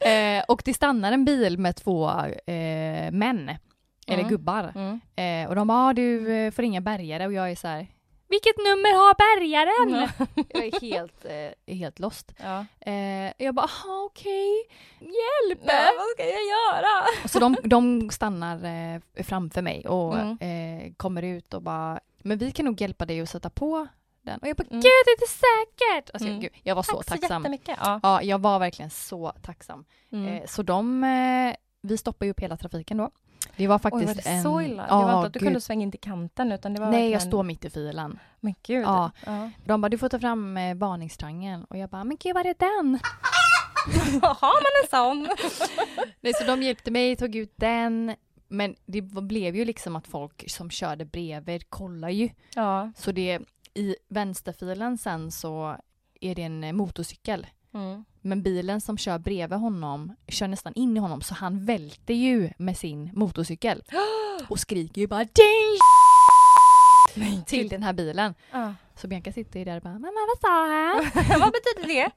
Speaker 2: Eh, och det stannar en bil med två eh, män, eller
Speaker 1: Mm.
Speaker 2: gubbar.
Speaker 1: Mm.
Speaker 2: Eh, och de bara, ah, du eh, får ringa bärgare och jag är så här, vilket nummer har bärgaren? Jag är helt, eh, helt lost.
Speaker 1: Mm. Ja.
Speaker 2: Eh, jag bara, aha okej, hjälp!
Speaker 1: vad ska jag göra?
Speaker 2: Så de, de stannar eh, framför mig och
Speaker 1: Mm.
Speaker 2: eh, kommer ut och bara, men vi kan nog hjälpa dig att sätta på den. Och jag bara,
Speaker 1: Mm.
Speaker 2: gud det är inte säkert! Alltså,
Speaker 1: Mm.
Speaker 2: gud, jag var så
Speaker 1: Tack så
Speaker 2: tacksam.
Speaker 1: jättemycket. Ja.
Speaker 2: Ja, jag var verkligen så tacksam.
Speaker 1: Mm.
Speaker 2: Eh, så de, eh, vi stoppade ju upp hela trafiken då. Det var
Speaker 1: Oj,
Speaker 2: faktiskt
Speaker 1: var det
Speaker 2: en...
Speaker 1: så illa? det
Speaker 2: Ja,
Speaker 1: var inte att du
Speaker 2: gud.
Speaker 1: kunde svänga in till kanten utan det var
Speaker 2: Nej, jag
Speaker 1: verkligen-
Speaker 2: står mitt i filen.
Speaker 1: Men gud.
Speaker 2: Ja.
Speaker 1: Ja. (laughs)
Speaker 2: De bara, du får ta fram eh, varningstriangeln. Och jag bara, men gud var är den? (laughs)
Speaker 1: Har man en sån?
Speaker 2: Nej, så de hjälpte mig, tog ut den. Men det v- blev ju liksom att folk som körde bredvid kollar ju.
Speaker 1: Ja.
Speaker 2: Så det, i vänsterfilen sen så är det en eh, motorcykel.
Speaker 1: Mm.
Speaker 2: Men bilen som kör bredvid honom kör nästan in i honom så han välter ju med sin motorcykel. Och skriker ju bara "Din
Speaker 1: Men
Speaker 2: till den här bilen.
Speaker 1: Ja. (laughs)
Speaker 2: Så Bianca sitter ju där och bara mamma vad sa han?
Speaker 1: Vad betyder det?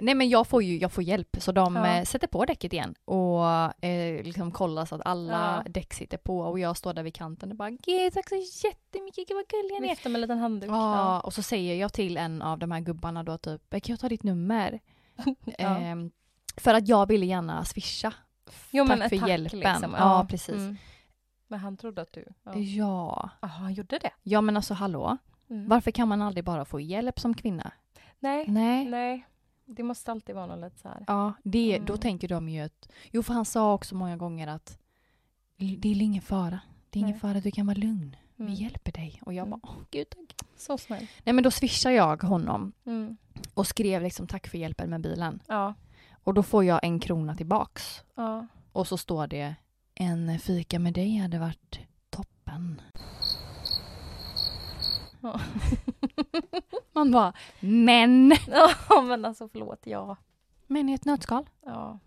Speaker 2: Nej men jag får ju jag får hjälp så de
Speaker 1: Ja.
Speaker 2: eh, sätter på däcket igen och eh, liksom kollar så att alla
Speaker 1: Ja.
Speaker 2: däck sitter på och jag står där vid kanten och bara gud tack så jättemycket, gud vad gullig han är.
Speaker 1: Vifta med en liten handduk.
Speaker 2: Ja, och så säger jag till en av de här gubbarna då typ kan jag ta ditt nummer?
Speaker 1: (laughs) Ja.
Speaker 2: Ehm, för att jag ville gärna swisha.
Speaker 1: Jo,
Speaker 2: tack
Speaker 1: men ett
Speaker 2: för
Speaker 1: tack,
Speaker 2: hjälpen.
Speaker 1: liksom.
Speaker 2: Ja, precis.
Speaker 1: Mm. Men han trodde att du... Ja,
Speaker 2: Ja.
Speaker 1: Jaha, han gjorde det?
Speaker 2: Ja men alltså hallå,
Speaker 1: Mm.
Speaker 2: varför kan man aldrig bara få hjälp som kvinna?
Speaker 1: Nej,
Speaker 2: Nej.
Speaker 1: nej. Det måste alltid vara något lite så här.
Speaker 2: Ja, det, då
Speaker 1: Mm.
Speaker 2: tänker de ju att... Jo, för han sa också många gånger att "L- det är ingen fara. Det är ingen
Speaker 1: Nej.
Speaker 2: fara, du kan vara lugn.
Speaker 1: Mm.
Speaker 2: Vi hjälper dig. Och jag
Speaker 1: Mm.
Speaker 2: bara, åh gud tack.
Speaker 1: Så snäll.
Speaker 2: Nej men då swishar jag honom
Speaker 1: Mm.
Speaker 2: och skrev liksom tack för hjälpen med bilen.
Speaker 1: Ja,
Speaker 2: Och då får jag en krona tillbaks.
Speaker 1: ja.
Speaker 2: Och så står det, en fika med dig hade varit toppen.
Speaker 1: Ja. (laughs)
Speaker 2: Man bara, men!
Speaker 1: ja, men alltså förlåt, ja.
Speaker 2: Men i ett nötskal.
Speaker 1: ja.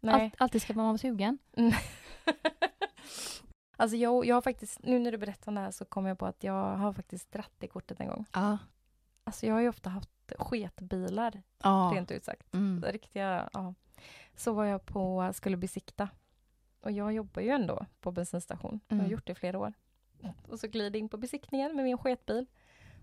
Speaker 1: Nej.
Speaker 2: Allt, alltid ska man vara sugen.
Speaker 1: (laughs) Alltså jag, jag har faktiskt, nu när du berättar det här så kommer jag på att jag har faktiskt dratt det kortet en gång.
Speaker 2: Ja.
Speaker 1: Alltså jag har ju ofta haft sketbilar,
Speaker 2: Ja.
Speaker 1: rent ut sagt.
Speaker 2: Mm.
Speaker 1: Riktiga, ja. Så var jag på, skulle besikta. Och jag jobbar ju ändå på bensinstation. Jag
Speaker 2: Mm.
Speaker 1: har gjort det i flera år. Och så glider jag in på besiktningen med min sketbil.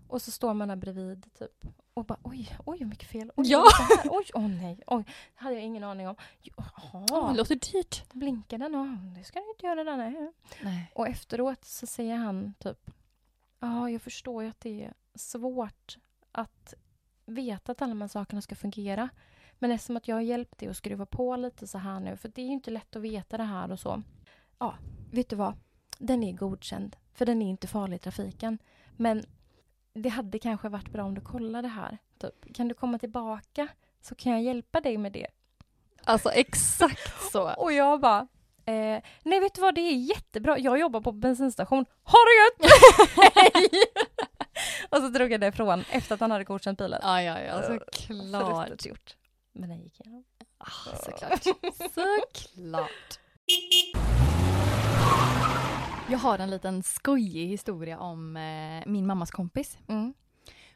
Speaker 1: Och så står man där bredvid typ. Och bara oj, oj hur mycket fel. Oj,
Speaker 2: Ja.
Speaker 1: vad är det här? oj, åh nej. Oj, det hade jag ingen aning om.
Speaker 2: Åh, det
Speaker 1: Jaha,
Speaker 2: låter dyrt.
Speaker 1: blinkar den? Ja, det ska den inte göra där nej.
Speaker 2: Nej.
Speaker 1: Och efteråt så säger han typ Ja, jag förstår ju att det är svårt att veta att alla de här sakerna ska fungera. Men eftersom att jag har hjälpt dig att skruva på lite så här nu, för det är ju inte lätt att veta det här och så. Ja, vet du vad? Den är godkänd, för den är inte farlig i trafiken. Men det hade kanske varit bra om du kollade här. Typ, kan du komma tillbaka så kan jag hjälpa dig med det.
Speaker 2: Alltså exakt så.
Speaker 1: Och jag bara, eh, nej vet du vad, det är jättebra, jag jobbar på bensinstation, ha det gött! (laughs) Hej!
Speaker 2: (laughs)
Speaker 1: och så drog jag det ifrån efter att han hade godkänt bilen.
Speaker 2: Ja, ja, ja,
Speaker 1: Eh, Förnuftigt gjort. Men den gick igenom.
Speaker 2: Ah, såklart. Såklart. Jag har en liten skojig historia om eh, min mammas kompis.
Speaker 1: Mm.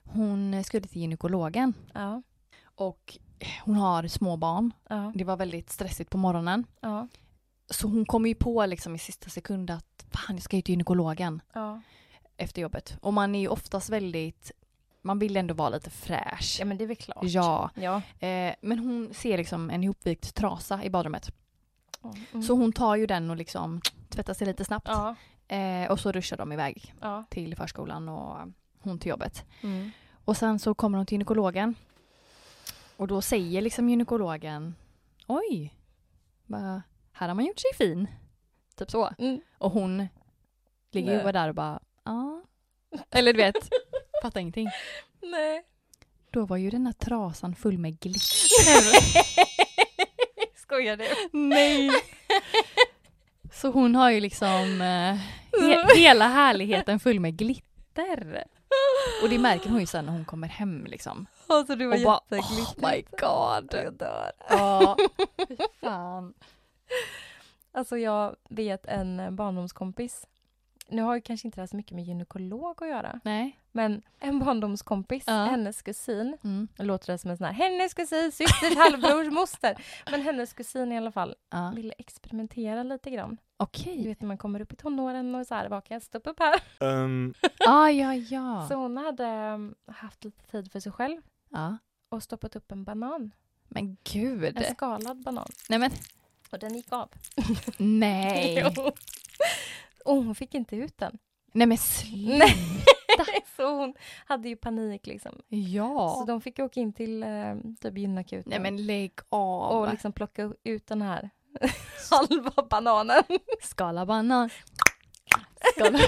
Speaker 2: Hon skulle till gynekologen
Speaker 1: Ja,
Speaker 2: och hon har små barn.
Speaker 1: ja,
Speaker 2: Det var väldigt stressigt på morgonen.
Speaker 1: ja,
Speaker 2: Så hon kom ju på liksom i sista sekund att fan, jag ska ju till gynekologen
Speaker 1: ja.
Speaker 2: efter jobbet. Och man är ju oftast väldigt, man vill ändå vara lite fräsch.
Speaker 1: Ja men det är väl klart.
Speaker 2: Ja,
Speaker 1: Ja.
Speaker 2: eh, men hon ser liksom en ihopvikt trasa i badrummet.
Speaker 1: Mm.
Speaker 2: Så hon tar ju den och liksom tvättar sig lite snabbt.
Speaker 1: Ja,
Speaker 2: Eh, och så ruschar de iväg
Speaker 1: ja.
Speaker 2: till förskolan och hon till jobbet.
Speaker 1: Mm.
Speaker 2: Och sen så kommer hon till gynekologen. Och då säger liksom gynekologen Oj, va, här har man gjort sig fin. Typ så.
Speaker 1: Mm.
Speaker 2: Och hon ligger ju
Speaker 1: Nej.
Speaker 2: bara där och bara ja. Eller du vet, fattar ingenting.
Speaker 1: Nej.
Speaker 2: Då var ju den här trasan full med glitter.
Speaker 1: Skojar du?
Speaker 2: Nej! Så hon har ju liksom eh, he- hela härligheten full med glitter. Och det märker hon ju sen när hon kommer hem liksom.
Speaker 1: Alltså du var
Speaker 2: Och bara oh
Speaker 1: jätteglittrigt.
Speaker 2: my god.
Speaker 1: Jag dör. (laughs)
Speaker 2: Ja, fy fan.
Speaker 1: Alltså jag vet en barndomskompis, nu har ju kanske inte det här så mycket med gynekolog att göra,
Speaker 2: Nej.
Speaker 1: Men en barndomskompis,
Speaker 2: Ja.
Speaker 1: hennes kusin,
Speaker 2: Mm.
Speaker 1: nu låter det som en sån här hennes kusin, systers
Speaker 2: (laughs)
Speaker 1: halvbrors moster. Men hennes kusin i alla fall
Speaker 2: Ja.
Speaker 1: ville experimentera lite grann.
Speaker 2: Okej.
Speaker 1: Du vet när man kommer upp i tonåren och så här, vad kan jag stoppa upp här?
Speaker 3: Um,
Speaker 2: Ah, ja, ja.
Speaker 1: Så hon hade ehm, haft lite tid för sig själv
Speaker 2: ja.
Speaker 1: och stoppat upp en banan,
Speaker 2: Men gud.
Speaker 1: en skalad banan.
Speaker 2: Nej, men
Speaker 1: Och den gick av.
Speaker 2: nej.
Speaker 1: (laughs) Jo. och hon fick inte ut den.
Speaker 2: Nej, men sluta.
Speaker 1: Nej. (laughs) så hon hade ju panik liksom. Så
Speaker 2: Ja.
Speaker 1: de fick åka in till eh, typ gynakuten.
Speaker 2: Nej, men lägg av.
Speaker 1: och liksom plocka ut den här (laughs) halva bananen.
Speaker 2: Skala banan.
Speaker 1: (laughs)
Speaker 2: Skala.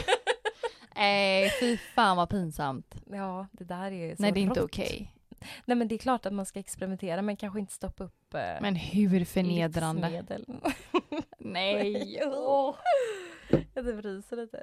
Speaker 2: Nej, fy fan vad pinsamt.
Speaker 1: Eh, Ja, det där är så
Speaker 2: Nej, det är inte
Speaker 1: rått.
Speaker 2: okej.
Speaker 1: Nej, men det är klart att man ska experimentera, men kanske inte stoppa upp eh,
Speaker 2: Men hur förnedrande.
Speaker 1: livsmedel.
Speaker 2: (laughs)
Speaker 1: (laughs)
Speaker 2: Nej.
Speaker 1: Åh. Jag typ ryser lite.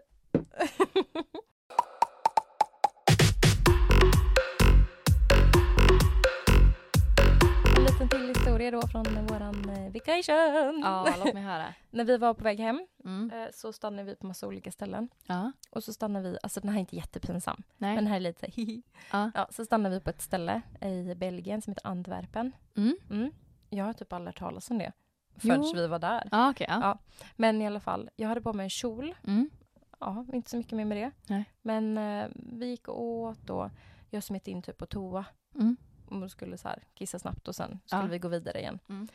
Speaker 1: En liten till historia då från våran eh, vacation.
Speaker 2: Ja, låt mig höra.
Speaker 1: När vi var på väg hem
Speaker 2: Mm.
Speaker 1: eh, så stannade vi på massa olika ställen.
Speaker 2: Ja.
Speaker 1: Och så stannade vi, alltså den här är inte jättepinsam,
Speaker 2: Nej.
Speaker 1: men den här är lite (laughs) hihi.
Speaker 2: Ja.
Speaker 1: Ja, så stannade vi på ett ställe i Belgien som heter Antwerpen.
Speaker 2: Mm.
Speaker 1: Mm. Jag har typ aldrig hört talas om det förrän
Speaker 2: Jo.
Speaker 1: vi var där.
Speaker 2: Ja, okej. ja.
Speaker 1: Ja. Men i alla fall, jag hade på mig en kjol
Speaker 2: Mm.
Speaker 1: ja, inte så mycket mer med det.
Speaker 2: Nej.
Speaker 1: Men eh, vi gick och åt och jag smet in typ på toa
Speaker 2: Mm.
Speaker 1: och skulle så här kissa snabbt och sen skulle
Speaker 2: Ja.
Speaker 1: vi gå vidare igen.
Speaker 2: Mm.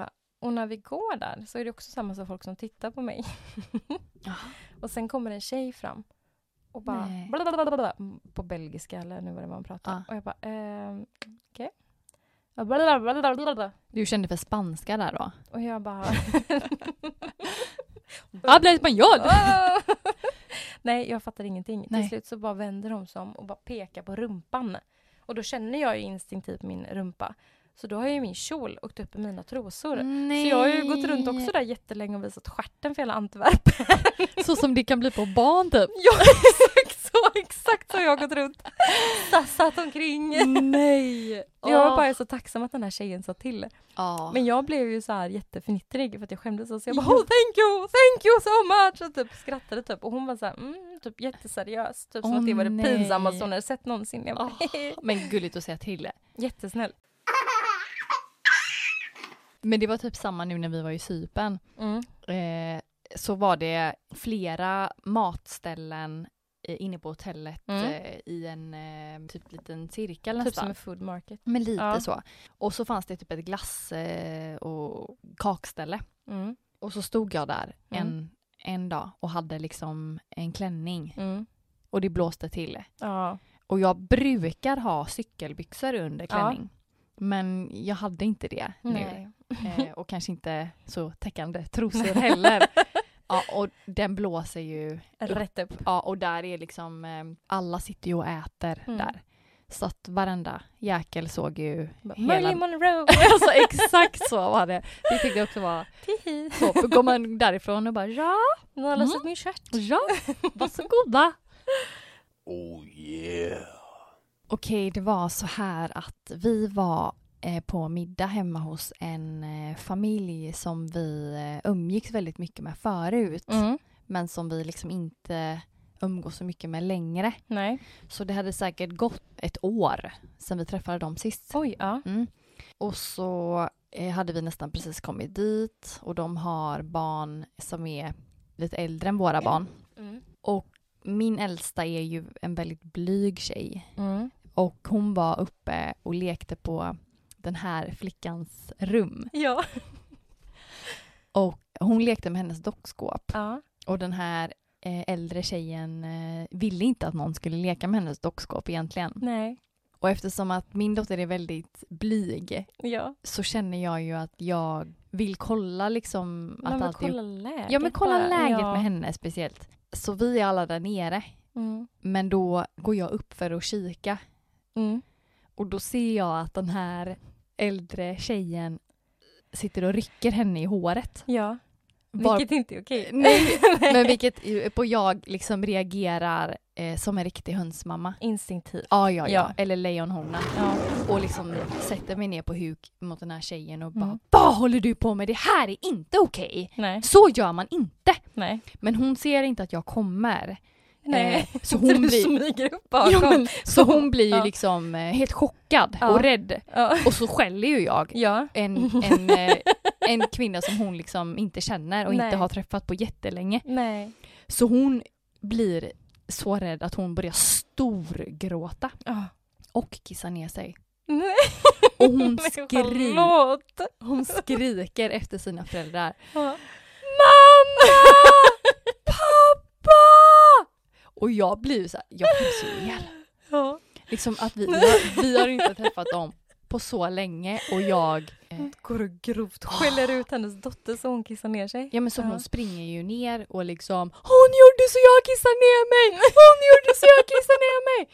Speaker 1: Eh, och när vi går där så är det också samma som folk som tittar på mig. (laughs)
Speaker 2: Ja.
Speaker 1: och sen kommer en tjej fram och bara
Speaker 2: Nej.
Speaker 1: bla, bla, bla, bla, bla, på belgiska eller nu var det man pratade.
Speaker 2: Ja.
Speaker 1: Och jag bara, ehm, okej. Ja, bla, bla, bla, bla, bla, bla.
Speaker 2: Du kände för spanska där då?
Speaker 1: Och jag bara...
Speaker 2: Habla español!
Speaker 1: Ah! Nej, jag fattar ingenting.
Speaker 2: Nej.
Speaker 1: Till slut så bara vänder hon sig om och bara pekar på rumpan. Och då känner jag ju instinktivt min rumpa. Så då har ju min kjol åkt upp i mina trosor.
Speaker 2: Nej.
Speaker 1: Så jag har ju gått runt också där jättelänge och visat stjärten för hela (laughs) Antwerpen.
Speaker 2: (laughs) Så som det kan bli på barn typ.
Speaker 1: Ja, exakt så, exakt så har jag gått runt. Sassat omkring.
Speaker 2: Mm. Nej!
Speaker 1: Jag var bara så tacksam att den här tjejen sa till.
Speaker 2: Ja.
Speaker 1: Men jag blev ju så här jättefnittrig för att jag skämdes så, så jag bara
Speaker 2: Ja.
Speaker 1: oh, thank you, thank you so much och typ skrattade typ och hon var så här, mm, typ jätteseriös, typ som
Speaker 2: Åh,
Speaker 1: att det var det
Speaker 2: nej.
Speaker 1: pinsammaste hon hade sett någonsin. Jag bara,
Speaker 2: Åh. Men gulligt att säga till.
Speaker 1: (laughs) Jättesnäll.
Speaker 2: Men det var typ samma nu när vi var i Cypern.
Speaker 1: Mm.
Speaker 2: Eh, så var det flera matställen eh, inne på hotellet
Speaker 1: Mm.
Speaker 2: eh, i en eh, typ liten cirkel
Speaker 1: Typ
Speaker 2: nästan.
Speaker 1: som en food market.
Speaker 2: Men lite
Speaker 1: Ja.
Speaker 2: så. Och så fanns det typ ett glass eh, och kakställe.
Speaker 1: Mm.
Speaker 2: Och så stod jag där
Speaker 1: Mm.
Speaker 2: en, en dag och hade liksom en klänning
Speaker 1: Mm.
Speaker 2: och det blåste till.
Speaker 1: Ja.
Speaker 2: Och jag brukar ha cykelbyxor under klänning. Men jag hade inte det nu.
Speaker 1: Nej. (laughs)
Speaker 2: Eh, och kanske inte så täckande trosor heller. ja, och den blåser ju.
Speaker 1: Rätt upp.
Speaker 2: Ja, och där är liksom, eh, alla sitter ju och äter
Speaker 1: Mm.
Speaker 2: där. Så att varenda jäkel såg ju
Speaker 1: (laughs)
Speaker 2: (laughs)
Speaker 1: Bara,
Speaker 2: hela
Speaker 1: Marilyn
Speaker 2: (laughs)
Speaker 1: Monroe.
Speaker 2: Alltså exakt så var det. Det tyckte jag också var
Speaker 1: Tihi.
Speaker 2: så. Går man därifrån och bara ja,
Speaker 1: Någon har
Speaker 2: Mm.
Speaker 1: löst ut min stjärt.
Speaker 2: ja, varsågoda.
Speaker 3: Oh yeah.
Speaker 2: Okej, det var så här att vi var eh, på middag hemma hos en eh, familj som vi eh, umgicks väldigt mycket med förut.
Speaker 1: Mm.
Speaker 2: Men som vi liksom inte umgås så mycket med längre.
Speaker 1: Nej.
Speaker 2: Så det hade säkert gått ett år sedan vi träffade dem sist.
Speaker 1: Oj, ja.
Speaker 2: Mm. Och så eh, hade vi nästan precis kommit dit och de har barn som är lite äldre än våra barn.
Speaker 1: Mm.
Speaker 2: Min äldsta är ju en väldigt blyg tjej
Speaker 1: Mm.
Speaker 2: och hon var uppe och lekte på den här flickans rum.
Speaker 1: Ja.
Speaker 2: Och hon lekte med hennes dockskåp
Speaker 1: ja.
Speaker 2: och den här eh, äldre tjejen eh, ville inte att någon skulle leka med hennes dockskåp egentligen.
Speaker 1: Nej.
Speaker 2: Och eftersom att min dotter är väldigt blyg
Speaker 1: Ja.
Speaker 2: så känner jag ju att jag vill kolla liksom
Speaker 1: Man
Speaker 2: att
Speaker 1: vill
Speaker 2: allt är
Speaker 1: kolla läget.
Speaker 2: Ja men kolla
Speaker 1: bara.
Speaker 2: läget
Speaker 1: Ja.
Speaker 2: med henne speciellt. Så vi är alla där nere,
Speaker 1: Mm.
Speaker 2: men då går jag upp för att kika
Speaker 1: Mm.
Speaker 2: och då ser jag att den här äldre tjejen sitter och rycker henne i håret.
Speaker 1: Ja.
Speaker 2: Var-
Speaker 1: Vilket inte är okej.
Speaker 2: Nej, men vilket ju- på jag liksom reagerar eh, som en riktig hönsmamma.
Speaker 1: Instinktivt.
Speaker 2: Ja, ja, ja.
Speaker 1: Ja.
Speaker 2: Eller lejonhona.
Speaker 1: Ja.
Speaker 2: Och liksom sätter mig ner på huk mot den här tjejen och bara
Speaker 1: Mm.
Speaker 2: Vad håller du på med? Det här är inte okej!
Speaker 1: Nej.
Speaker 2: Så gör man inte!
Speaker 1: Nej.
Speaker 2: Men hon ser inte att jag kommer.
Speaker 1: Nej.
Speaker 2: Eh,
Speaker 1: (laughs) Så
Speaker 2: Så (laughs) hon
Speaker 1: du
Speaker 2: blir,
Speaker 1: smyger upp bakom.
Speaker 2: Ja, men- så hon blir ju
Speaker 1: Ja.
Speaker 2: liksom eh, helt chockad
Speaker 1: Ja.
Speaker 2: och rädd.
Speaker 1: ja.
Speaker 2: Och så skäller ju jag
Speaker 1: ja.
Speaker 2: en, (laughs) en, eh, en kvinna som hon liksom inte känner och
Speaker 1: Nej.
Speaker 2: inte har träffat på jättelänge.
Speaker 1: Nej.
Speaker 2: Så hon blir så rädd att hon börjar storgråta
Speaker 1: Ja.
Speaker 2: och kissa ner sig.
Speaker 1: Nej.
Speaker 2: Och (laughs) hon,
Speaker 1: Men
Speaker 2: skri
Speaker 1: Förlåt.
Speaker 2: hon skriker efter sina föräldrar.
Speaker 1: Ja.
Speaker 2: Mamma! Pappa! Och jag blir ju såhär, jag skäms ju ihjäl.
Speaker 1: (laughs) Ja.
Speaker 2: Liksom att vi, vi, har, vi har inte träffat dem på så länge och jag... Eh,
Speaker 1: Går och grovt skäller ut hennes dotter så hon kissar ner sig.
Speaker 2: ja men så
Speaker 1: Ja. (laughs)
Speaker 2: hon springer ju ner och liksom Hon gjorde så jag kissar ner mig! (laughs) Hon gjorde så jag kissar ner mig!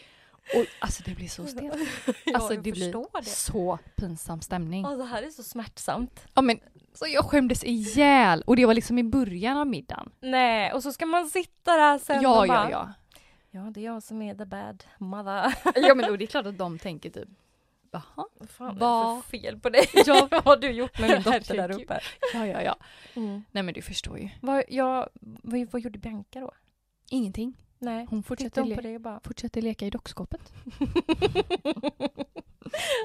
Speaker 2: Och alltså det blir så stelt.
Speaker 1: (laughs)
Speaker 2: Alltså
Speaker 1: jag
Speaker 2: det blir
Speaker 1: förstår det.
Speaker 2: så pinsam stämning.
Speaker 1: Ja, det här är så smärtsamt.
Speaker 2: Ja men så jag skämdes ihjäl och det var liksom i början av middagen.
Speaker 1: Nej, och så ska man sitta där sen
Speaker 2: ja,
Speaker 1: och bara,
Speaker 2: ja, ja.
Speaker 1: ja, det är jag som är the bad mother.
Speaker 2: Ja men och det är klart att de tänker typ Jaha?
Speaker 1: Vad fan är det
Speaker 2: Vad-
Speaker 1: för fel på dig?
Speaker 2: Ja.
Speaker 1: (laughs) Vad har du gjort med min dotter
Speaker 2: (laughs) Herregud.
Speaker 1: där uppe?
Speaker 2: Ja, ja, ja.
Speaker 1: Mm.
Speaker 2: Nej men du förstår ju.
Speaker 1: Vad, jag, vad, vad gjorde Bianca då?
Speaker 2: Ingenting.
Speaker 1: Nej, tittade
Speaker 2: Hon fortsätter,
Speaker 1: hon på
Speaker 2: le-
Speaker 1: dig och (laughs) bara...
Speaker 2: fortsätter leka
Speaker 1: (laughs)
Speaker 2: i dockskåpet. The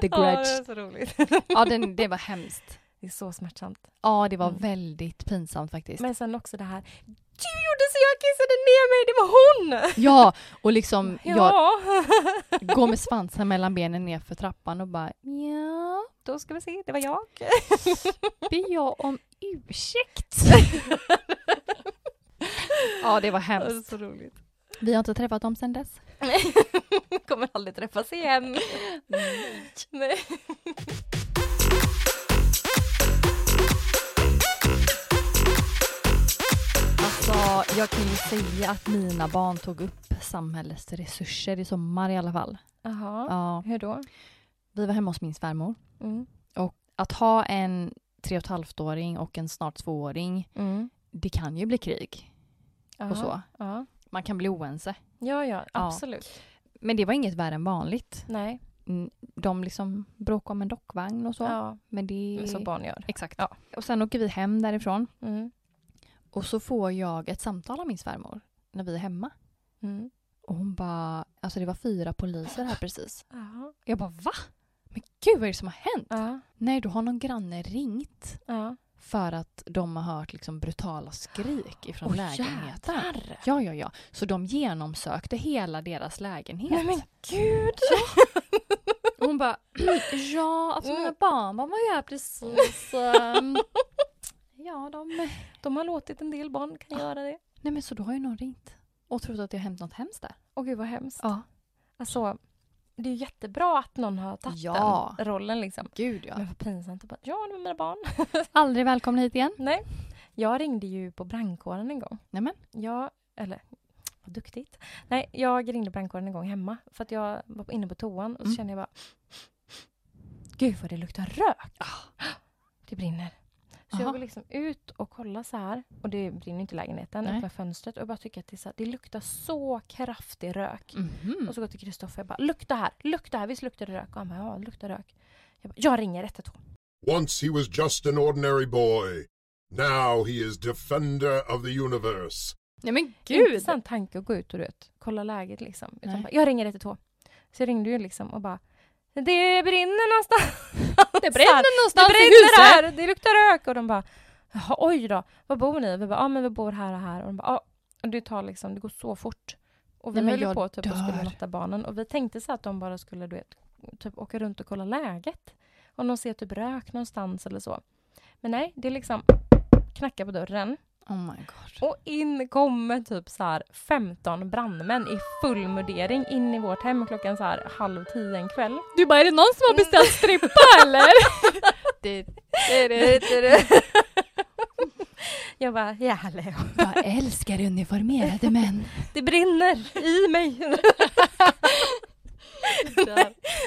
Speaker 1: Ja, det
Speaker 2: grudge.
Speaker 1: är så roligt.
Speaker 2: Ja, den, det var hemskt.
Speaker 1: (laughs) Det är så smärtsamt.
Speaker 2: Ja, det var
Speaker 1: Mm.
Speaker 2: väldigt pinsamt faktiskt.
Speaker 1: Men sen också det här, du gjorde så jag kissade ner mig, det var hon!
Speaker 2: Ja,
Speaker 1: (laughs)
Speaker 2: och liksom jag
Speaker 1: Ja, (laughs)
Speaker 2: går med svansen mellan benen ner för trappan och bara ja,
Speaker 1: då ska vi se, det var (laughs) jag.
Speaker 2: ber jag om ursäkt. ja, det var hemskt.
Speaker 1: så roligt. (laughs)
Speaker 2: Vi har inte träffat dem sedan dess.
Speaker 1: Kommer aldrig träffas igen. (laughs) Nej.
Speaker 2: Alltså, jag kan ju säga att mina barn tog upp samhällets resurser i sommar i alla fall.
Speaker 1: Jaha,
Speaker 2: Ja,
Speaker 1: hur då?
Speaker 2: vi var hemma hos min svärmor.
Speaker 1: Mm.
Speaker 2: Att ha en tre och ett halvt-åring och en snart tvååring,
Speaker 1: Mm.
Speaker 2: det kan ju bli krig
Speaker 1: Jaha,
Speaker 2: och så.
Speaker 1: Ja.
Speaker 2: Man kan bli oense.
Speaker 1: ja, ja, absolut.
Speaker 2: Men det var inget värre än vanligt.
Speaker 1: Nej,
Speaker 2: Mm, De liksom bråkade om en dockvagn och så.
Speaker 1: ja,
Speaker 2: Men det...
Speaker 1: så barn gör.
Speaker 2: Exakt.
Speaker 1: Ja.
Speaker 2: Och sen åker vi hem därifrån
Speaker 1: Mm.
Speaker 2: och så får jag ett samtal av min svärmor när vi är hemma.
Speaker 1: Mm.
Speaker 2: Och hon bara, alltså det var fyra poliser här precis.
Speaker 1: Jaha.
Speaker 2: Jag bara va? Men gud vad är det som har hänt?
Speaker 1: Ja,
Speaker 2: Nej, då har någon granne ringt
Speaker 1: ja.
Speaker 2: för att de har hört liksom brutala skrik ifrån
Speaker 1: Åh,
Speaker 2: lägenheten. Ja, ja, ja. Så de genomsökte hela deras lägenhet.
Speaker 1: Nej men gud!
Speaker 2: Och Hon bara, ja, alltså mina
Speaker 1: Mm.
Speaker 2: barn de var ju
Speaker 1: (laughs)
Speaker 2: här precis. ehm, ja, de...
Speaker 1: De har låtit en del barn kan göra det.
Speaker 2: Nej men så då har ju någon ringt och trott att det har hänt något hemskt där.
Speaker 1: Åh gud vad hemskt.
Speaker 2: Ja.
Speaker 1: Alltså, det är ju jättebra att någon har tagit
Speaker 2: Ja.
Speaker 1: den rollen liksom.
Speaker 2: Gud ja.
Speaker 1: Men vad pinsamt att bara, ja det var mina barn. (laughs)
Speaker 2: Aldrig välkomna hit igen.
Speaker 1: Nej. Jag ringde ju på brandkåren en gång.
Speaker 2: Nämen.
Speaker 1: Jag, eller vad duktigt. Nej, jag ringde brandkåren en gång hemma för att jag var inne på toan och så
Speaker 2: Mm.
Speaker 1: kände jag bara Gud vad det luktar rök! Ah. Det brinner. Så
Speaker 2: Aha.
Speaker 1: jag går liksom ut och kollar så här och det brinner inte i lägenheten,
Speaker 2: Nej.
Speaker 1: öppnar fönstret och jag bara tycker att det, är så här, det luktar så kraftig rök.
Speaker 2: Mhm.
Speaker 1: Och så går jag till Kristoffer och bara lukta här, lukta här, visst luktar det rök? Och han bara ja, det luktar rök. Jag, bara, jag ringer 112.
Speaker 5: Once he was just an ordinary boy. Now he is defender of the universe.
Speaker 2: Nej men
Speaker 1: Inte sann tanke att gå ut och du vet, kolla läget liksom. Utan
Speaker 2: Nej.
Speaker 1: bara, jag ringer 112. Så jag ringde ju liksom och bara det brinner någonstans. (laughs) Så här,
Speaker 2: Det bränner
Speaker 1: Det
Speaker 2: någonstans i
Speaker 1: brinner
Speaker 2: Alltså, huset.
Speaker 1: här, det luktar rök. Och de bara, Jaha, oj då, var bor ni? Vi bara, ja men vi bor här och här. Och de bara, ja. Och det tar liksom, det går så fort. Och vi
Speaker 2: Nej, men
Speaker 1: höll ju
Speaker 2: jag
Speaker 1: på typ och skulle
Speaker 2: dör.
Speaker 1: natta barnen. Och vi tänkte så att de bara skulle, du vet, typ åka runt och kolla läget. Om de ser typ rök någonstans eller så. Men nej, det är liksom knacka på dörren.
Speaker 2: Oh my god.
Speaker 1: Och in kommer typ så här 15 brandmän i full mudering in i vårt hem klockan så här halv tio en kväll.
Speaker 2: Du bara, är det någon som har beställt strippa eller? det, det, det,
Speaker 1: (laughs) Jag bara, ja hallå.
Speaker 2: Jag älskar uniformerade män.
Speaker 1: Det brinner i mig.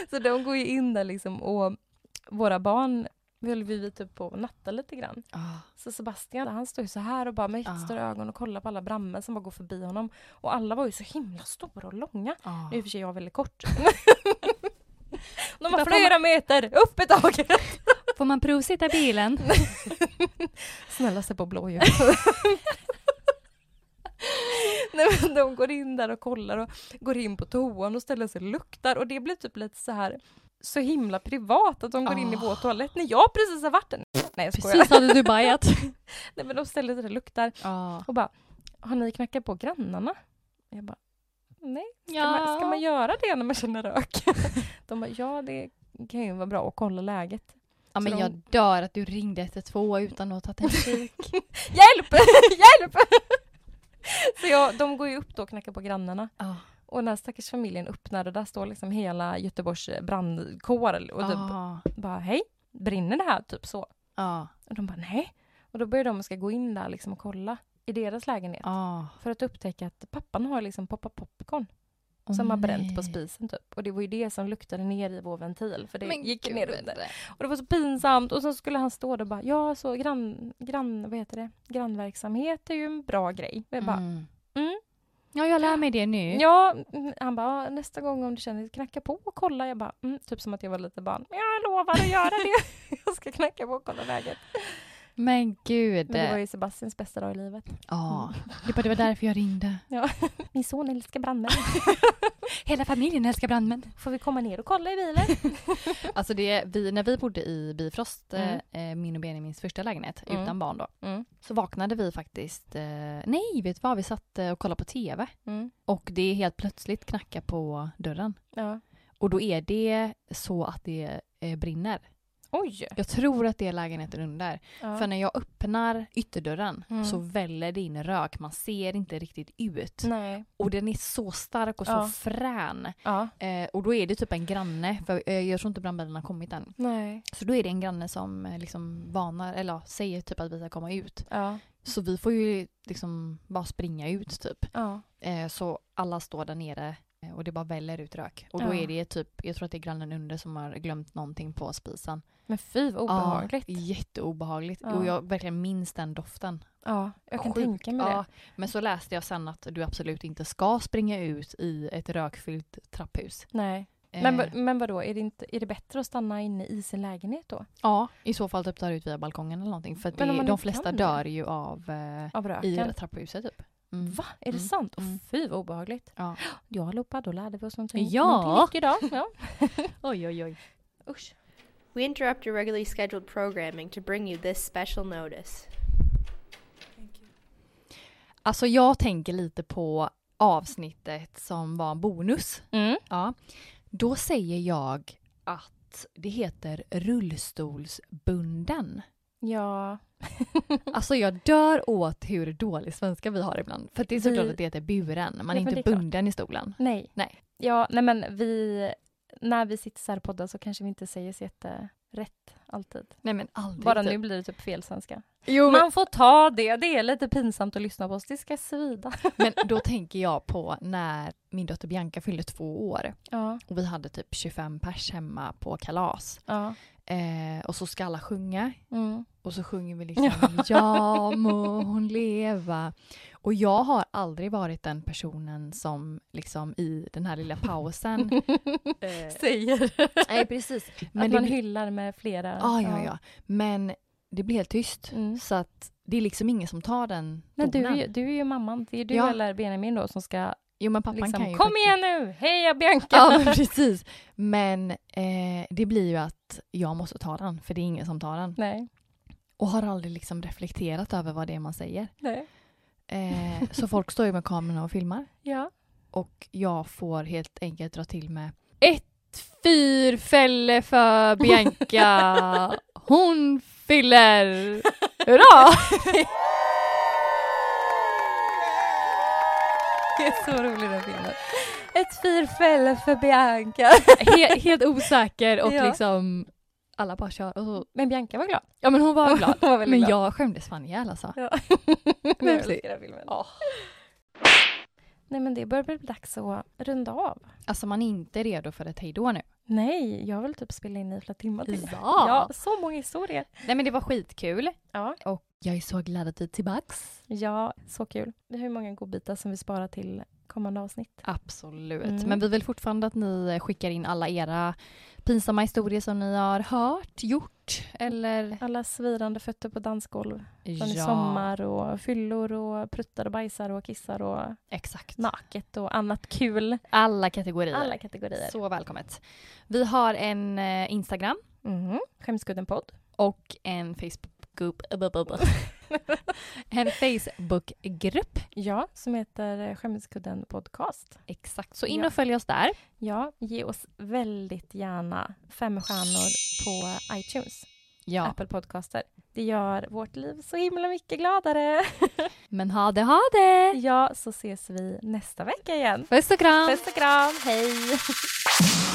Speaker 1: så de går ju in där liksom och våra barn höll vi typ på att natta lite grann.
Speaker 2: Ah,
Speaker 1: Så Sebastian, han står ju så här och bara med
Speaker 2: Ja.
Speaker 1: stora ögon och kollar på alla brandmän som bara går förbi honom. Och alla var ju så himla stora och långa.
Speaker 2: ah.
Speaker 1: Nu är i och för sig jag väldigt (laughs) kort. De
Speaker 2: Där
Speaker 1: var
Speaker 2: får
Speaker 1: flera meter upp i taket.
Speaker 2: Får man provsitta bilen?
Speaker 1: Snälla se på blå ju. Nej, men de går in där och kollar och går in på toan och ställer sig och luktar och det blir typ lite så här så himla privat att de går in i vår toalett när jag precis har varit där. Nej jag skojar.
Speaker 2: Precis hade du bajat.
Speaker 1: Nej men de ställer sig där och luktar
Speaker 2: Ja.
Speaker 1: och bara har ni knackat på grannarna? Jag bara nej, ska, man, ska man göra det när man känner rök? (laughs) de bara ja det kan ju vara bra att kolla läget.
Speaker 2: ja men
Speaker 1: Så de-
Speaker 2: jag dör att du ringde 112 utan att ha tagit en kik.
Speaker 1: Hjälp! (laughs) Hjälp! så jag, de går ju upp då och knackar på grannarna.
Speaker 2: (laughs) Ja.
Speaker 1: Och den här stackars familjen öppnar och där står liksom hela Göteborgs brandkår och typ
Speaker 2: Ja.
Speaker 1: bara hej, brinner det här? Typ så.
Speaker 2: Ja.
Speaker 1: Och de bara nej. Och då börjar de ska gå in där liksom och kolla i deras lägenhet.
Speaker 2: Ja.
Speaker 1: För att upptäcka att pappan har liksom poppat popcorn som har bränt på spisen typ. Och det var ju det som luktade ner i vår ventil för det gick ner under. Och det var så pinsamt och så skulle han stå där och bara ja så grann, grann vad heter det, grannverksamhet är ju en bra grej. Och jag bara,
Speaker 2: Mm.
Speaker 1: Mm.
Speaker 2: Ja, jag lär mig det nu.
Speaker 1: Ja, mm, han bara, "Ja, nästa gång om du känner dig knacka på och kolla. Jag bara, mm, typ som att jag var lite barn. Men jag lovar att göra det. (laughs) jag ska knacka på och kolla läget.
Speaker 2: Men gud.
Speaker 1: Men det var ju Sebastians bästa dag i livet.
Speaker 2: Ja. Det var- det var därför jag ringde.
Speaker 1: Min son älskar brandmän.
Speaker 2: Hela familjen älskar brandmän.
Speaker 1: Får vi komma ner och kolla i bilen?
Speaker 2: Alltså det, vi, när vi bodde i Bifrost,
Speaker 1: Mm.
Speaker 2: eh, min och Benjamins första lägenhet,
Speaker 1: Mm.
Speaker 2: utan barn då,
Speaker 1: Mm.
Speaker 2: så vaknade vi faktiskt, eh, nej vet du vad, vi satt eh, och kollade på TV
Speaker 1: Mm.
Speaker 2: och det är helt plötsligt knacka på dörren.
Speaker 1: Ja.
Speaker 2: Och då är det så att det eh, brinner.
Speaker 1: Oj!
Speaker 2: Jag tror att det är lägenheten under.
Speaker 1: Ja.
Speaker 2: För när jag öppnar ytterdörren
Speaker 1: Mm.
Speaker 2: så väller det in rök, man ser inte riktigt ut.
Speaker 1: Nej.
Speaker 2: Och den är så stark och så
Speaker 1: Ja.
Speaker 2: frän.
Speaker 1: Ja.
Speaker 2: Eh, och då är det typ en granne, för eh, jag tror inte brandbilen har kommit än.
Speaker 1: Nej.
Speaker 2: Så då är det en granne som eh, liksom varnar, eller ja, säger typ att vi ska komma ut.
Speaker 1: Ja.
Speaker 2: Så vi får ju liksom bara springa ut typ.
Speaker 1: Ja.
Speaker 2: Eh, så alla står där nere eh, och det bara väller ut rök. Och då
Speaker 1: Ja.
Speaker 2: är det typ, jag tror att det är grannen under som har glömt någonting på spisen.
Speaker 1: Men fy vad obehagligt.
Speaker 2: Ja,
Speaker 1: Ja.
Speaker 2: jätteobehagligt.
Speaker 1: Ja.
Speaker 2: Och jag verkligen minns den doften.
Speaker 1: jag kan
Speaker 2: Sjukt.
Speaker 1: tänka mig det.
Speaker 2: Ja, men så läste jag sen att du absolut inte ska springa ut i ett rökfyllt trapphus.
Speaker 1: Nej.
Speaker 2: Eh,
Speaker 1: Men, vad- men vadå, är det, inte, är det bättre att stanna inne i sin lägenhet då?
Speaker 2: Ja, i så fall typ tar ut via balkongen eller någonting. För att det,
Speaker 1: Men om man
Speaker 2: de
Speaker 1: inte
Speaker 2: flesta
Speaker 1: kan det?
Speaker 2: dör ju av eh,
Speaker 1: Av
Speaker 2: i
Speaker 1: röken?
Speaker 2: det trapphuset typ. Mm.
Speaker 1: Va? Är det
Speaker 2: Mm.
Speaker 1: sant?
Speaker 2: Mm.
Speaker 1: Och fy vad obehagligt.
Speaker 2: Ja.
Speaker 1: Ja allihopa, då lärde vi oss någonting,
Speaker 2: Ja.
Speaker 1: någonting nytt idag.
Speaker 2: (laughs)
Speaker 1: Ja.
Speaker 2: (gasps) Oj, oj, oj.
Speaker 1: Usch.
Speaker 6: We interrupt your regularly scheduled programming to bring you this special notice.
Speaker 2: Alltså jag tänker lite på avsnittet som var en bonus.
Speaker 1: Mm.
Speaker 2: Ja. Då säger jag att det heter (laughs) rullstolsbunden.
Speaker 1: Ja.
Speaker 2: Alltså jag dör åt hur dålig svenska vi har ibland. För att det är så
Speaker 1: Vi-
Speaker 2: klart att det heter buren. Man
Speaker 1: men
Speaker 2: är inte
Speaker 1: det är klart.
Speaker 2: bunden i stolen.
Speaker 1: Nej.
Speaker 2: Nej.
Speaker 1: Ja, nej men vi... När vi sitter så här och poddar så kanske vi inte säger så jätterätt alltid.
Speaker 2: Nej men aldrig.
Speaker 1: Bara
Speaker 2: typ.
Speaker 1: nu blir det typ fel svenska.
Speaker 2: Jo, men,
Speaker 1: Man får ta det, det är lite pinsamt att lyssna på oss, det ska svida.
Speaker 2: men då tänker jag på när min dotter Bianca fyllde två år.
Speaker 1: (laughs) Ja,
Speaker 2: Och vi hade typ 25 pers hemma på kalas.
Speaker 1: ja.
Speaker 2: Eh, och så ska alla sjunga.
Speaker 1: Mm.
Speaker 2: Och så sjunger vi liksom (laughs) Ja må hon leva. Och jag har aldrig varit den personen som liksom i den här lilla
Speaker 1: (laughs)
Speaker 2: pausen. eh,
Speaker 1: Säger.
Speaker 2: nej precis.
Speaker 1: Men
Speaker 2: Men
Speaker 1: att
Speaker 2: det,
Speaker 1: man
Speaker 2: blir-
Speaker 1: hyllar med flera.
Speaker 2: ja, ja, ja. Men det blir helt tyst.
Speaker 1: Mm.
Speaker 2: Så att det är liksom ingen som tar den
Speaker 1: Men du, är
Speaker 2: tonen.
Speaker 1: ju- du är ju mamman, det är du
Speaker 2: Ja.
Speaker 1: eller Benjamin då som ska
Speaker 2: Jo men pappan
Speaker 1: liksom,
Speaker 2: kan ju
Speaker 1: kom
Speaker 2: faktiskt-
Speaker 1: igen nu, heja Bianca!
Speaker 2: Ja men precis. Men eh, det blir ju att jag måste ta den för det är ingen som tar den.
Speaker 1: (laughs) Nej,
Speaker 2: Och har aldrig liksom reflekterat över vad det är man säger.
Speaker 1: nej.
Speaker 2: Eh, så folk står ju med kamerorna och filmar.
Speaker 1: Ja.
Speaker 2: och jag får helt enkelt dra till med ett fyrfälle för
Speaker 1: (laughs)
Speaker 2: Bianca. Hon fyller hurra!
Speaker 1: Det är så rolig den filmen. Ett fyrfälle för Bianca.
Speaker 2: He- helt osäker och
Speaker 1: Ja.
Speaker 2: liksom alla bara kör. Och så.
Speaker 1: Men Bianca var glad.
Speaker 2: Ja men hon var glad.
Speaker 1: Hon var
Speaker 2: Men
Speaker 1: väldigt glad.
Speaker 2: jag skämdes fan ihjäl alltså.
Speaker 1: Ja.
Speaker 2: Men
Speaker 1: (laughs) jag
Speaker 2: precis.
Speaker 1: älskar den filmen. Nej men det börjar bli dags att runda av.
Speaker 2: Alltså man är inte redo för ett hejdå nu.
Speaker 1: Nej, jag vill typ spela in i flera timmar till.
Speaker 2: Ja.
Speaker 1: ja så många historier.
Speaker 2: Nej men det var skitkul.
Speaker 1: Ja.
Speaker 2: Och jag är så glad att du är tillbaks.
Speaker 1: Ja, så kul. Vi har ju många godbitar som vi sparar till kommande avsnitt.
Speaker 2: Absolut.
Speaker 1: Mm.
Speaker 2: Men vi eh, vill fortfarande att ni skickar in alla era pinsamma historier som ni har hört, gjort bort eller?
Speaker 1: Alla svidande fötter på dansgolv från i
Speaker 2: Ja,
Speaker 1: sommar och fyllor och pruttar och bajsar och kissar och
Speaker 2: Exakt.
Speaker 1: naket och annat kul.
Speaker 2: Alla kategorier.
Speaker 1: Alla kategorier.
Speaker 2: Så välkommet. Vi har en eh, Instagram
Speaker 1: Mhm. Skämskudden-podd.
Speaker 2: och en Facebook (laughs) en Facebookgrupp.
Speaker 1: (laughs) Ja, som heter eh, Skämskudden Podcast.
Speaker 2: Exakt, så in
Speaker 1: Ja.
Speaker 2: och följ oss där.
Speaker 1: Ja, ge oss väldigt gärna fem stjärnor på iTunes,
Speaker 2: Ja,
Speaker 1: Apple Podcaster. Det gör vårt liv så himla mycket gladare. (laughs)
Speaker 2: men ha det, ha det!
Speaker 1: Ja, så ses vi nästa vecka igen.
Speaker 2: Puss och kram!
Speaker 1: Puss och kram, hej!
Speaker 4: (laughs)